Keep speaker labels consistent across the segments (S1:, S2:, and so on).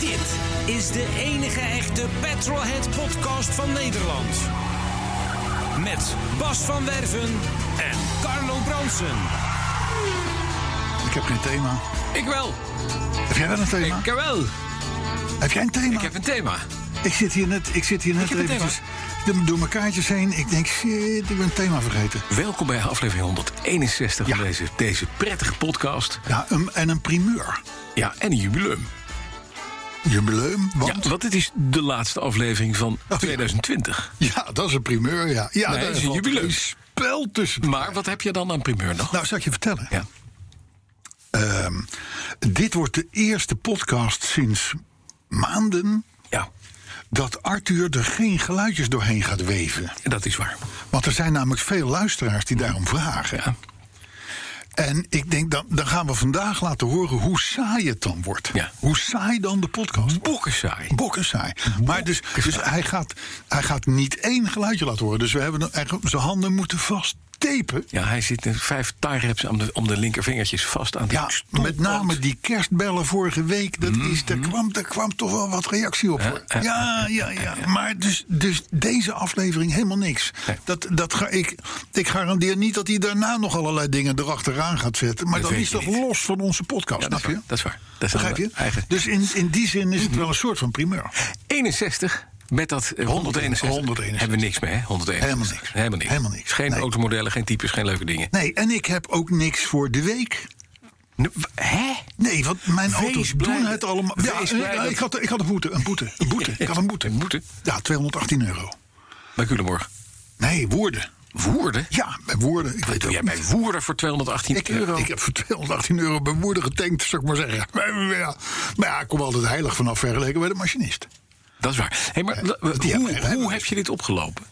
S1: Dit is de enige echte Petrolhead podcast van Nederland. Met Bas van Werven en Carlo Bronsen.
S2: Ik heb geen thema.
S1: Ik wel.
S2: Heb jij wel een thema?
S1: Ik wel.
S2: Heb jij een thema?
S1: Ik heb een thema.
S2: Ik zit hier net, ik zit hier net
S1: heb een
S2: eventjes door- door mijn kaartjes heen. Ik denk, shit, ik ben een thema vergeten.
S3: Welkom bij aflevering 161
S2: Ja.
S3: van deze, deze prettige podcast.
S2: Ja, een, en een primeur.
S3: Ja, en een jubileum.
S2: Jubileum,
S3: Ja,
S2: want...
S3: want het is de laatste aflevering van
S2: Oh, ja.
S3: 2020.
S2: Ja, dat is een primeur, ja. ja
S3: Nee,
S2: daar
S3: het is een
S2: valt
S3: jubileum.
S2: Een spel tussen.
S3: Maar wat heb je dan aan primeur nog?
S2: Nou, zal ik je vertellen.
S3: Ja.
S2: Ehm, dit wordt de eerste podcast sinds maanden...
S3: ja,
S2: dat Arthur er geen geluidjes doorheen gaat weven.
S3: dat is waar.
S2: Want er zijn namelijk veel luisteraars die daarom vragen.
S3: Ja.
S2: En ik denk, dan, dan gaan we vandaag laten horen hoe saai het dan wordt.
S3: Ja.
S2: Hoe saai dan de podcast wordt.
S3: Bokkensaai.
S2: Bokken saai. Maar dus, dus hij, gaat, hij gaat niet één geluidje laten horen. Dus we hebben hem eigenlijk- zijn handen moeten vasttepen.
S3: Ja, hij zit in vijf tie-raps om de, om de linkervingertjes vast aan de
S2: Ja, met name die kerstbellen vorige week. Dat is, daar, kwam, daar kwam toch wel wat reactie op. hoor.
S3: Mhm, ja,
S2: Ja, ja, ja. Maar dus, dus deze aflevering helemaal niks.
S3: Nee.
S2: Dat, dat ga ik, ik garandeer niet dat hij daarna nog allerlei dingen erachteraan gaat zetten. Maar
S3: Dat
S2: dat,
S3: weet
S2: is
S3: je
S2: toch
S3: niet.
S2: los van onze podcast,
S3: Ja, dat,
S2: snap
S3: is waar,
S2: je?
S3: dat is waar. Dat is
S2: Begrijp je?
S3: een Eigen. Mhm.
S2: Dus in, in die zin is het wel een soort van primeur.
S3: 61. Met dat eh, 161,
S2: 161.
S3: hebben we niks meer, hè? 161.
S2: Helemaal niks.
S3: Helemaal niks.
S2: Helemaal niks.
S3: Geen
S2: Nee.
S3: automodellen, geen types, geen leuke dingen.
S2: Nee, en ik heb ook niks voor de week.
S3: Nee, w- Hè?
S2: Nee, want mijn
S3: Wees
S2: auto's
S3: blij
S2: doen
S3: dat-
S2: het allemaal.
S3: Wees
S2: Ja,
S3: blij
S2: ik,
S3: dat-
S2: ik, had, ik had een boete. Een boete. Een boete. Ik had een boete.
S3: Een boete?
S2: Ja, 218 euro.
S3: Bij Culemborg.
S2: Nee, woorden.
S3: Woerden?
S2: Ja, bij woorden. Ik weet ook
S3: Doe jij bij
S2: niet.
S3: Woerden voor 218
S2: Ik, eh,
S3: euro?
S2: ik heb voor 218 euro bij woorden getankt, zou ik maar zeggen. Maar ja, maar ja ik kom altijd heilig vanaf vergeleken bij de machinist.
S3: Dat is waar. Hey, maar
S2: Ja,
S3: l-
S2: Eh, die
S3: hoe,
S2: hebben- hebben
S3: hoe
S2: we.
S3: heb je dit opgelopen?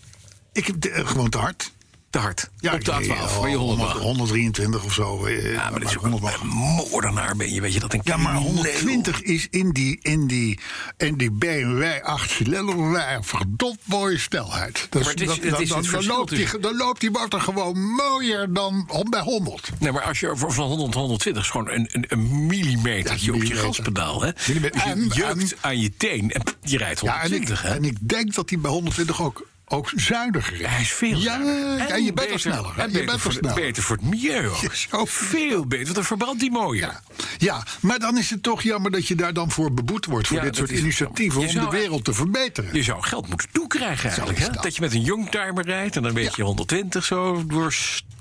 S2: Ik heb de- eh, gewoon te hard.
S3: Te hard.
S2: Ja,
S3: Op de
S2: ik-
S3: A12,
S2: eh,
S3: waar je 100
S2: 100 123 of zo. eh,
S3: Ja, maar dat is
S2: maak
S3: ook
S2: 100 wel.
S3: een een moordenaar ben je, weet je. Dat een
S2: Ja, maar
S3: crimineel.
S2: 120 is in die, in die, in die BMW 8 cilinder wij een verdomd mooie snelheid. Dus
S3: Maar het is-
S2: dat-
S3: het
S2: dat-
S3: is
S2: dan-
S3: het
S2: dan
S3: verschil
S2: loopt die-
S3: tussen-
S2: Dan loopt die motor gewoon mooier dan hon- bij 100.
S3: Nee, maar als je voor- van 100 tot 120 is gewoon een, een, een millimeter
S2: Ja,
S3: op je
S2: millimeter.
S3: gaspedaal. Hè?
S2: Millimeter.
S3: Dus
S2: En-
S3: je juikt
S2: en-
S3: aan je teen en pff, je rijdt
S2: Ja, en ik,
S3: 120. hè?
S2: en ik denk dat die bij 120 ook, ook zuiniger is.
S3: Hij is veel
S2: ja,
S3: sneller.
S2: En, je bent er sneller. hè?
S3: En
S2: je
S3: beter,
S2: bent
S3: voor,
S2: er sneller.
S3: beter voor het milieu. ook.
S2: Ja, zo.
S3: Veel beter, want dan verbrandt die mooier.
S2: Ja. ja, maar dan is het toch jammer dat je daar dan voor beboet wordt. Voor
S3: Ja,
S2: dit
S3: dat
S2: soort
S3: is-
S2: initiatieven
S3: Je
S2: om de
S3: zou-
S2: wereld te verbeteren.
S3: Je zou geld moeten toekrijgen eigenlijk.
S2: is
S3: Hè?
S2: dat.
S3: Dat je met een youngtimer rijdt en dan weet
S2: Ja.
S3: je 120 zo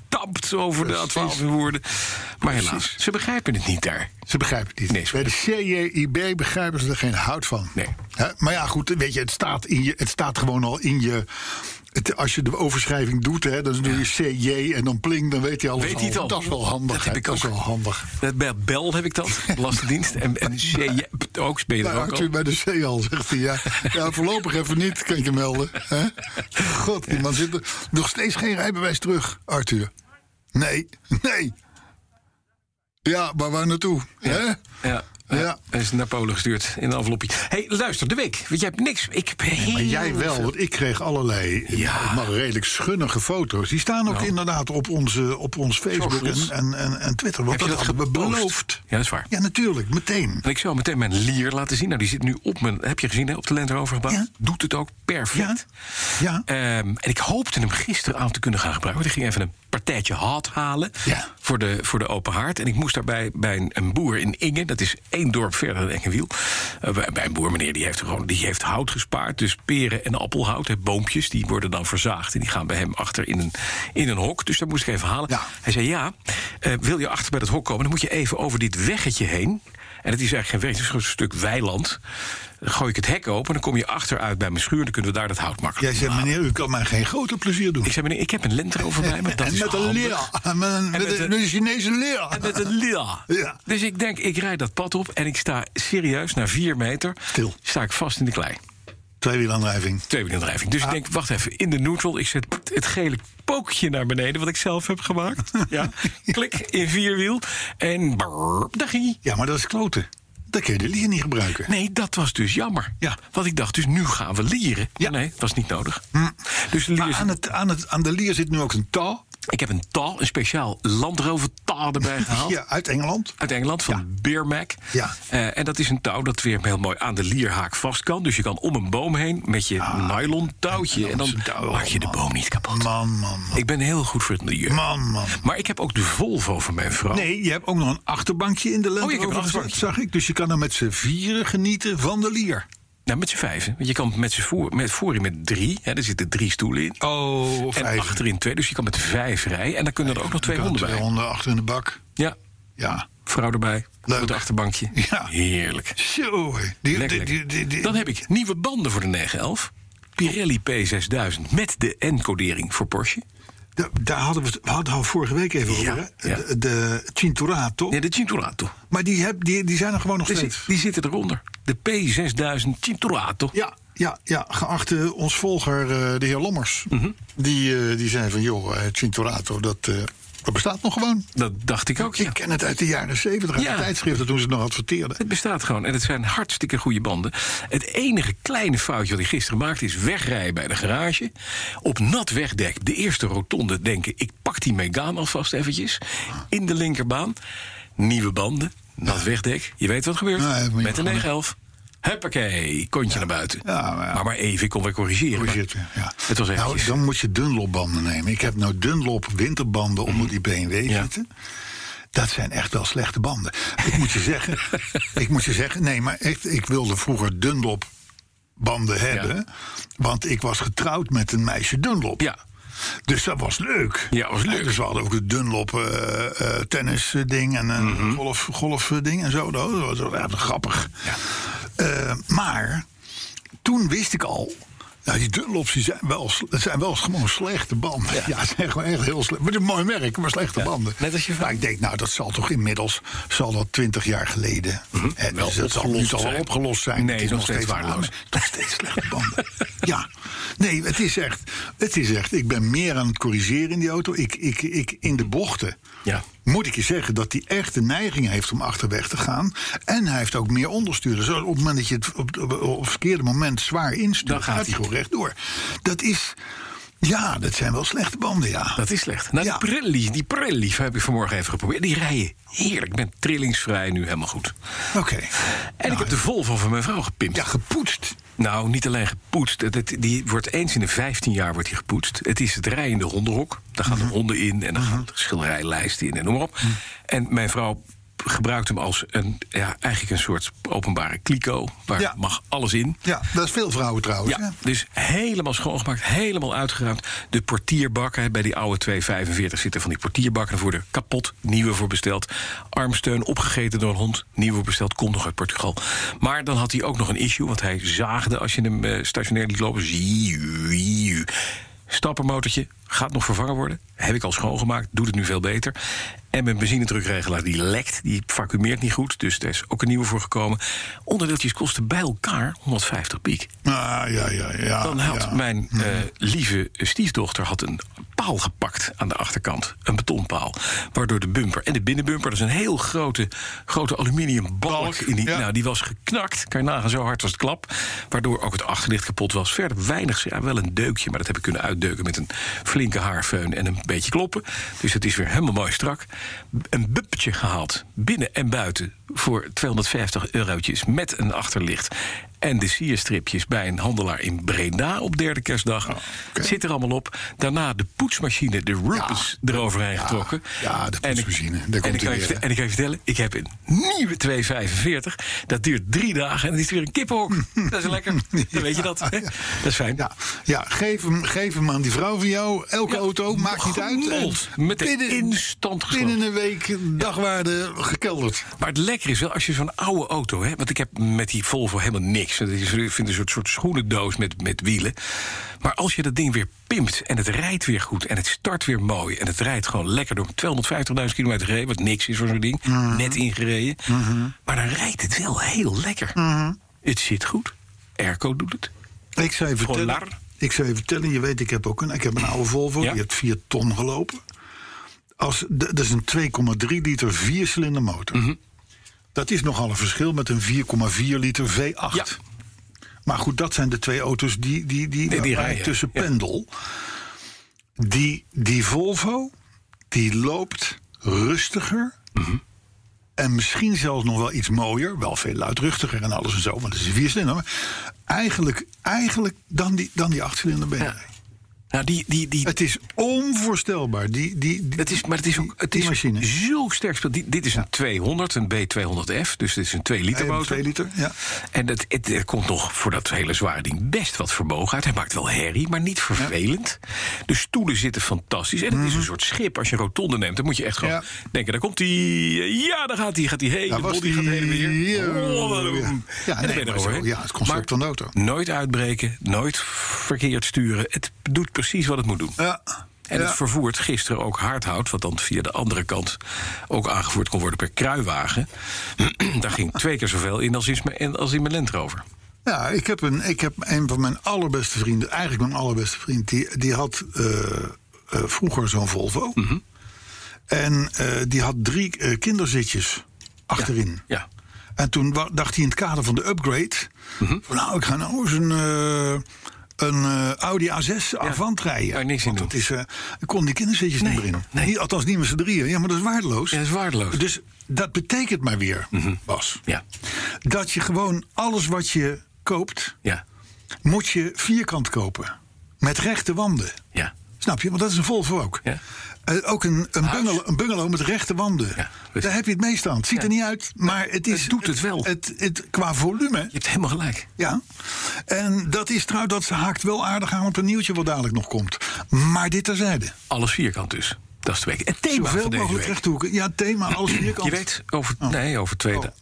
S3: doorstapt over
S2: Precies.
S3: de A12 woorden. Maar helaas,
S2: Precies.
S3: ze begrijpen het niet daar.
S2: Ze begrijpen het niet.
S3: Nee, ze
S2: Bij de CJIB begrijpen ze er geen hout van.
S3: Nee.
S2: Hè? maar ja, goed, weet je, het staat, in je, het staat gewoon al in je. het- als je de overschrijving doet, hè, dan doe je CJ en dan pling, dan weet hij alles.
S3: Weet
S2: al.
S3: hij het al?
S2: Dat is wel handig.
S3: Dat
S2: hè,
S3: heb ik
S2: dat is
S3: ook.
S2: wel handig.
S3: Dat Bij Bel heb ik dat, Belastingdienst. En, en CJ ook, ben je er
S2: Nou,
S3: ook
S2: hangt u
S3: al?
S2: bij de C al, zegt hij. Ja, ja voorlopig even niet, kan ik je melden. hè? God, die man zit er nog steeds geen rijbewijs terug, Arthur. Nee, nee. Ja, maar waar naartoe? Hè?
S3: Ja.
S2: Ja.
S3: Ja. Hij is naar Polen gestuurd in een envelopje. hey, luister, de week. Want jij hebt niks. Ik heb heel
S2: Maar jij wel,
S3: veel-
S2: want ik kreeg allerlei
S3: Ja. Nou.
S2: maar redelijk schunnige foto's. Die staan ook inderdaad op, onze, op ons Facebook
S3: Socials.
S2: en, en, en, en Twitter. Want
S3: Heb je
S2: dat
S3: dat
S2: hebben we
S3: gepost?
S2: beloofd.
S3: Ja, dat is waar.
S2: Ja, natuurlijk, meteen.
S3: En ik zou meteen mijn lier laten zien. Nou, die zit nu op mijn. Heb je gezien, hè, op de Land Rover gebouwd?
S2: Ja.
S3: Doet het ook perfect.
S2: Ja.
S3: Ehm, en ik hoopte hem gisteravond te kunnen gaan gebruiken. Want ik ging even een partijtje hard halen
S2: Ja.
S3: voor, de, voor de open haard. En ik moest daarbij bij een, een boer in Ingen. Dat is één dorp verder dan Engenwiel. Eh, bij, bij een boer, meneer, die heeft, gewoon, die heeft hout gespaard. Dus peren en appelhout, hè, boompjes, die worden dan verzaagd. En die gaan bij hem achter in een, in een hok. Dus dat moest ik even halen.
S2: Ja.
S3: Hij zei, ja, eh, wil je achter bij dat hok komen... dan moet je even over dit weggetje heen... En het is eigenlijk geen weg, het is gewoon een stuk weiland. Dan gooi ik het hek open, dan kom je achteruit bij mijn schuur... en dan kunnen we daar dat hout makkelijk
S2: Jij zegt,
S3: ophalen.
S2: meneer, u kan mij geen groter plezier doen.
S3: Nou. Ik zei, meneer, ik heb een lente over mij, maar dat
S2: en
S3: is
S2: met een
S3: handig.
S2: leer. En met een, met
S3: met
S2: een,
S3: een-
S2: met een Chinese leer.
S3: En met een lila.
S2: Ja.
S3: Dus ik denk, ik rijd dat pad op en ik sta serieus na vier meter...
S2: Stil.
S3: sta ik vast in de klei.
S2: Tweewielaandrijving.
S3: Tweewielaandrijving.
S2: Ah.
S3: Dus ik denk, wacht even, in de neutral. Ik zet het gele pookje naar beneden, wat ik zelf heb gemaakt. ja. Klik in vierwiel en brrr, daar ging hij.
S2: Ja, maar dat is kloten. Dan kun je de lier niet gebruiken.
S3: Nee, dat was dus jammer.
S2: Ja.
S3: Want ik dacht, dus nu gaan we leren.
S2: Ja. Hm.
S3: Maar nee, was niet nodig. Dus de
S2: Maar
S3: lier
S2: aan, het, aan, het, aan de lier zit nu ook een touw.
S3: Ik heb een taal, een speciaal landrovertaal erbij gehaald.
S2: Ja, uit Engeland.
S3: Uit Engeland, van Beermac.
S2: Ja.
S3: Eh, en dat is een touw dat weer heel mooi aan de lierhaak vast kan. Dus je kan om een boom heen met je
S2: Ah.
S3: nylon touwtje. En, dan
S2: zo'n touw,
S3: maak je de
S2: man.
S3: boom niet kapot.
S2: Man, man, man.
S3: Ik ben heel goed voor het milieu.
S2: Man, man.
S3: Maar ik heb ook de Volvo van mijn vrouw.
S2: Nee, je hebt ook nog een achterbankje in de Land
S3: Oh, ik heb een
S2: Rover gezet,
S3: achterbankje.
S2: zag ik. Dus je kan dan met z'n vieren genieten van de lier.
S3: Nou, met z'n vijven. Want je kan met z'n voor, met, voorin met drie. Hè, er zitten drie stoelen in.
S2: Oh,
S3: en achterin twee. Dus je kan met vijf rijden. En dan kunnen er ook nog twee honden
S2: Twee
S3: bij.
S2: honden achter in de bak.
S3: Ja,
S2: Ja.
S3: vrouw erbij.
S2: Leuk.
S3: Op het achterbankje.
S2: Ja.
S3: Heerlijk.
S2: Zo, hé. die, die,
S3: Lekker,
S2: die,
S3: lekker.
S2: die, die-
S3: Dan heb ik nieuwe banden voor de 911. Pirelli P6000 met de N-codering voor Porsche.
S2: da- daar hadden we, het- we hadden het vorige week even
S3: Ja,
S2: over. Hè?
S3: ja.
S2: De, de Cinturato.
S3: Ja, de Cinturato.
S2: Maar die, heb, die, die zijn er gewoon nog
S3: Die,
S2: steeds.
S3: zit- die zitten eronder. De P6000 Cinturato.
S2: Ja, ja, ja. Geachte ons volger, eh, de heer Lommers.
S3: Mhm.
S2: die, eh, die zei van, joh, eh, Cinturato, dat, eh, dat bestaat nog gewoon.
S3: Dat dacht ik ook, ja.
S2: Ik ken het uit de jaren zeventig, uit
S3: Ja.
S2: de tijdschriften toen ze het nog adverteerden.
S3: Het bestaat gewoon en het zijn hartstikke goede banden. Het enige kleine foutje wat ik gisteren maakte is wegrijden bij de garage. Op nat wegdek, de eerste rotonde, denken ik pak die Megane alvast eventjes. In de linkerbaan, nieuwe banden, nat wegdek. Je weet wat er gebeurt
S2: Ja, ja, maar je
S3: met de
S2: moet
S3: 911. Huppakee, kontje naar buiten.
S2: Ja, maar ja.
S3: Maar maar even, ik kon weer corrigeren.
S2: Hoe
S3: maar
S2: zit het? Ja.
S3: Het was eventjes.
S2: Nou, dan moet je Dunlop-banden nemen. Ik heb nou Dunlop winterbanden onder die BMW
S3: Mhm. Ja.
S2: zitten. Dat zijn echt wel slechte banden. Ik moet je zeggen, ik moet je zeggen, nee, maar echt, ik wilde vroeger Dunlop banden hebben, want ik was getrouwd met een meisje Dunlop.
S3: Ja,
S2: Dus dat was leuk.
S3: Ja, was leuk.
S2: Dus we hadden ook een Dunlop eh, eh, tennis eh, ding en een
S3: Mhm.
S2: golf, golf eh, ding en zo. Dat was wel echt grappig. Eh, maar toen wist ik al. Nou, die Dunlops die zijn, wel, sl- het zijn wel gewoon slechte banden. Ja, het zijn gewoon echt heel slecht. Maar het is een mooi merk, maar slechte banden.
S3: net als je
S2: Maar ik denk, nou, dat zal toch inmiddels, zal dat twintig jaar geleden. hè,
S3: Mhm. Wel
S2: dus dat zal nu
S3: opgelost
S2: toch wel
S3: zijn.
S2: opgelost zijn.
S3: Nee,
S2: Het is
S3: nog steeds waardeloos.
S2: aan- nog steeds slechte banden. ja. Nee, het is, echt, het is echt. Ik ben meer aan het corrigeren in die auto. Ik, ik, ik, in de bochten
S3: Ja.
S2: moet ik je zeggen dat hij echt de neiging heeft om achterweg te gaan. En hij heeft ook meer ondersturen. Zo op het moment dat je het op, op, op het verkeerde moment zwaar instuurt,
S3: Dan gaat hij.
S2: gewoon rechtdoor. Dat is. Ja, dat zijn wel slechte banden, ja.
S3: dat is slecht. Nou,
S2: Ja.
S3: die Pirelli, die Pirelli heb ik vanmorgen even geprobeerd. Die rijden heerlijk. Ik ben trillingsvrij nu helemaal goed.
S2: Oké.
S3: En ik heb de Volvo van mijn vrouw gepimpt.
S2: Nou, Ja, gepoetst.
S3: Nou, niet alleen gepoetst. Het, het- die wordt eens in de 15 jaar wordt die gepoetst. Het is het rijende hondenhok. Daar gaan
S2: Mhm.
S3: de honden in en dan gaan de schilderijlijsten in en noem maar op. En mijn vrouw gebruikt hem als een, ja, eigenlijk een soort openbare kliko. Waar
S2: Ja.
S3: mag alles in.
S2: Ja, dat is veel vrouwen trouwens. hè?
S3: Ja, dus helemaal schoongemaakt, helemaal uitgeruimd. De portierbakken, hè, bij die oude 245 zitten van die portierbakken. Daar worden kapot, nieuwe voor besteld. Armsteun, opgegeten door een hond, nieuwe voor besteld. Komt nog uit Portugal. Maar dan had hij ook nog een issue, want hij zaagde als je hem eh, stationair liet lopen. Zieuw, zieuw. Stappermotortje, gaat nog vervangen worden. Heb ik al schoongemaakt, doet het nu veel beter. En mijn benzinedrukregelaar die lekt, die vacuumeert niet goed. Dus daar is ook een nieuwe voor gekomen. Onderdeeltjes kosten bij elkaar 150 piek.
S2: Ah, ja, ja, ja.
S3: Dan had
S2: ja. Mhm.
S3: mijn eh, lieve stiefdochter had een paal gepakt aan de achterkant. Een betonpaal. Waardoor de bumper en de binnenbumper... dat is een heel grote, grote aluminium balk.
S2: Balk,
S3: In die,
S2: ja.
S3: Nou, die was geknakt. Kan je nagaan, zo hard was het klap. Waardoor ook het achterlicht kapot was. Verder weinig, ja, wel een deukje. Maar dat heb ik kunnen uitdeuken met een flinke haarfeun... en een beetje kloppen. Dus het is weer helemaal mooi strak. Een buppetje gehaald, binnen en buiten... voor 250 eurotjes met een achterlicht... En de sierstripjes bij een handelaar in Breda op derde kerstdag.
S2: Oh, oké.
S3: Zit er allemaal op. Daarna de poetsmachine, de Rubens, eroverheen getrokken.
S2: ja, de
S3: En ik-
S2: poetsmachine, daar
S3: En ik,
S2: komt
S3: kan
S2: hij
S3: je
S2: weer,
S3: vertel-
S2: hè?
S3: en ik kan je vertellen, ik heb een nieuwe 245. Dat duurt drie dagen en het is weer een kippenhok. dat is lekker. Dan weet je dat. Hè? Dat is fijn.
S2: Ja, ja geef, hem, geef hem aan die vrouw van jou. Elke
S3: Ja,
S2: auto, maakt niet uit.
S3: gemold.
S2: En
S3: Met de instant gesloopt.
S2: Binnen een week dagwaarde gekelderd.
S3: Maar het lekt lekker is wel als je zo'n oude auto hebt. Want ik heb met die Volvo helemaal niks. Dat is, ik vind een soort, soort schoenendoos met, met wielen. Maar als je dat ding weer pimpt en het rijdt weer goed en het start weer mooi en het rijdt gewoon lekker door 250.000 kilometer gereden, wat niks is voor zo'n ding, net ingereden. Maar dan rijdt het wel heel lekker. Het zit goed. Airco doet het.
S2: Ik zou je vertellen.
S3: lar.
S2: Ik zou je vertellen, je weet, ik heb ook een, ik heb een oude Volvo,
S3: Ja.
S2: die heeft 4 ton gelopen. Als, d- dat is een 2,3 liter viercilinder motor.
S3: Mhm.
S2: Dat is nogal een verschil met een 4,4 liter V8.
S3: Ja.
S2: Maar goed, dat zijn de twee auto's die, die, die,
S3: die
S2: waar ik
S3: rijden,
S2: tussen
S3: ja.
S2: pendel. Die, die Volvo, die loopt rustiger.
S3: Mhm.
S2: En misschien zelfs nog wel iets mooier. Wel veel luidruchtiger en alles en zo. Want het is een viercilinder. Maar eigenlijk, eigenlijk dan die, dan die achtcilinder BMW.
S3: Nou, die, die, die,
S2: Het is onvoorstelbaar. Die, die, die-
S3: Het is, maar het is ook het
S2: die
S3: is
S2: machine.
S3: zulk sterk speel. Dit, dit is een 200, een B200F. Dus dit is een 2 liter
S2: Hij heeft
S3: motor.
S2: twee liter, ja.
S3: En dat, het, er komt nog voor dat hele zware ding best wat vermogen uit. Hij maakt wel herrie, maar niet vervelend. De stoelen zitten fantastisch. En het is een soort schip. Als je een rotonde neemt, dan moet je echt gewoon
S2: Mhm. Ja.
S3: denken... daar komt hij. Ja, daar gaat hij. Gaat hij heen.
S2: Daar
S3: de
S2: was
S3: body
S2: die-
S3: gaat heen en weer.
S2: Ja.
S3: Oh, wat een-
S2: Ja.
S3: en
S2: Ja,
S3: dan
S2: nee,
S3: ben je
S2: maar
S3: er
S2: zo,
S3: overheen.
S2: ja, het concept
S3: Maar
S2: van de auto.
S3: Nooit uitbreken, nooit verkeerd sturen. Het doet precies wat het moet doen.
S2: Ja.
S3: En
S2: ja.
S3: het vervoert gisteren ook hardhout, wat dan via de andere kant ook aangevoerd kon worden per kruiwagen. Daar ging twee keer zoveel in als in, mijn- als in mijn Land Rover.
S2: Ja, ik heb, een, ik heb een van mijn allerbeste vrienden, eigenlijk mijn allerbeste vriend, die, die had eh, eh, vroeger zo'n Volvo.
S3: Mhm.
S2: En eh, die had drie eh, kinderzitjes achterin.
S3: Ja.
S2: En toen wa- dacht hij in het kader van de upgrade:
S3: Mhm.
S2: van, Nou, ik ga nou eens een, eh, een eh, Audi A6 Avant rijden.
S3: Daar niks in
S2: Want
S3: doen.
S2: dat is, eh, ik kon die kinderzitjes niet meer in.
S3: nee.
S2: Niet, althans, niet met z'n drieën. Ja, maar dat is waardeloos.
S3: Ja, dat is waardeloos. Mhm.
S2: Dus dat betekent maar weer, Bas,
S3: Ja.
S2: dat je gewoon alles wat je koopt,
S3: Ja.
S2: moet je vierkant kopen. Met rechte wanden.
S3: Ja.
S2: Snap je? Want dat is een Volvo ook.
S3: Ja.
S2: Eh, ook een, een, bungalow, een bungalow met rechte wanden.
S3: Ja, dus-
S2: Daar heb je het meest aan. Het ziet
S3: Ja.
S2: er niet uit, maar het is...
S3: Het doet het wel.
S2: Het, het, qua volume,
S3: Je hebt helemaal gelijk.
S2: ja. En dat is trouwens, dat haakt wel aardig aan op een nieuwtje wat dadelijk nog komt. Maar dit terzijde.
S3: Alles vierkant dus. Dat is het week. Het thema
S2: Zoveel
S3: van deze
S2: mogelijk
S3: week.
S2: rechthoeken. Ja, thema, alles vierkant.
S3: Je weet, over, nee, over twee...
S2: Oh.
S3: da-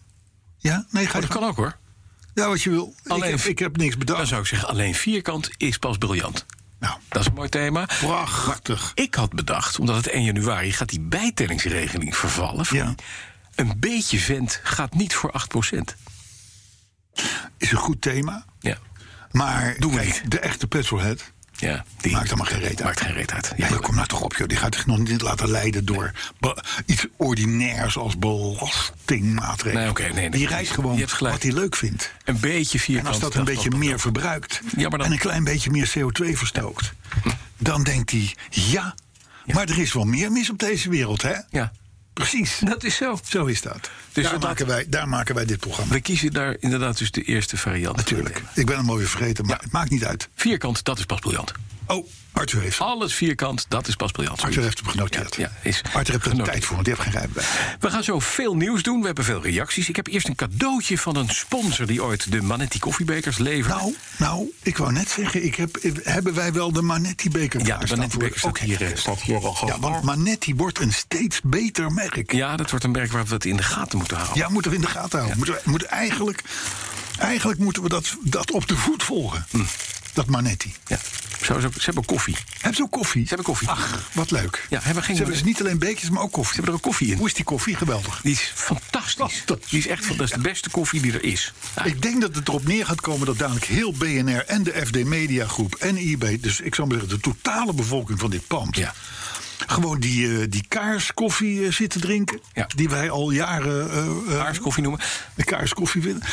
S2: Ja, nee, ga
S3: Oh,
S2: je
S3: dat kan ook hoor.
S2: Ja, wat je wil.
S3: Alleen-
S2: ik, heb, ik heb niks
S3: Dan
S2: bedacht.
S3: zou ik zeggen, alleen vierkant is pas briljant.
S2: Nou,
S3: Dat is een mooi thema.
S2: prachtig.
S3: Ik had bedacht, omdat het 1 januari gaat die bijtellingsregeling vervallen. van
S2: Ja.
S3: die- Een beetje vent gaat niet voor 8%.
S2: Is een goed thema.
S3: Ja.
S2: Maar
S3: Doen we
S2: kijk, de echte petrolhead.
S3: ja die
S2: Maakt allemaal geen reet uit.
S3: Maakt geen reet uit.
S2: Ja, maar kom nou toch op, joh. Die gaat zich nog niet laten leiden door be- iets ordinairs als belastingmaatregelen.
S3: Nee, oké, nee, nee,
S2: die
S3: precies.
S2: rijdt
S3: Je
S2: gewoon
S3: hebt gelijk.
S2: wat hij leuk vindt.
S3: Een beetje vierkant.
S2: En als dat een beetje meer verbruikt
S3: Ja, maar dan-
S2: en een klein beetje meer CO2 verstookt, dan denkt hij: ja, maar er is wel meer mis op deze wereld, hè?
S3: Ja,
S2: Precies.
S3: dat is zo.
S2: Zo is dat.
S3: Dus
S2: daar,
S3: dat-
S2: maken wij, daar maken wij dit programma.
S3: We kiezen daar inderdaad dus de eerste variant.
S2: Natuurlijk. Ik ben hem alweer vergeten, maar het maakt niet uit.
S3: Vierkant, dat is pas briljant.
S2: Oh, Arthur heeft.
S3: Alles vierkant, dat is pas briljant.
S2: Arthur heeft hem genoteerd.
S3: Ja, ja, is
S2: Arthur heeft er
S3: genoteerd.
S2: tijd voor, want die heeft geen rijbewijs.
S3: We gaan zo veel nieuws doen. We hebben veel reacties. Ik heb eerst een cadeautje van een sponsor die ooit de Manetti koffiebekers levert.
S2: Nou, nou, ik wou net zeggen, ik heb, ik- hebben wij wel de Manetti-beker
S3: ja, de
S2: klaarstaan
S3: Manetti
S2: voor-
S3: bekers staat
S2: Oké.
S3: hier, eh, staat hier al
S2: Ja, want Manetti wordt een steeds beter merk.
S3: Ja, dat wordt een merk waar we het in de gaten moeten houden.
S2: Ja, moeten we in de gaten houden. Moeten we, moeten eigenlijk, eigenlijk moeten we dat, dat op de voet volgen.
S3: Hm.
S2: Dat Manetti.
S3: Ja. Zo is ook- ze hebben koffie.
S2: Hebben ze ook koffie?
S3: Ze hebben koffie.
S2: Ach, wat leuk.
S3: Ja, hebben geen-
S2: ze hebben dus niet alleen beekjes, maar ook koffie.
S3: Ze hebben er ook koffie in.
S2: Hoe is die koffie? Geweldig.
S3: Die is fantastisch.
S2: Fantastisch.
S3: Die is echt van, dat is de beste koffie die er is. Nou, Ja,
S2: Ik denk dat het erop neer gaat komen dat dadelijk heel BNR en de FD Media Groep en IB, dus ik zou maar zeggen de totale bevolking van dit pand,
S3: Ja.
S2: gewoon die, eh, die kaarskoffie eh, zitten drinken,
S3: Ja.
S2: die wij al jaren eh, eh,
S3: Paars koffie noemen.
S2: de kaarskoffie vinden.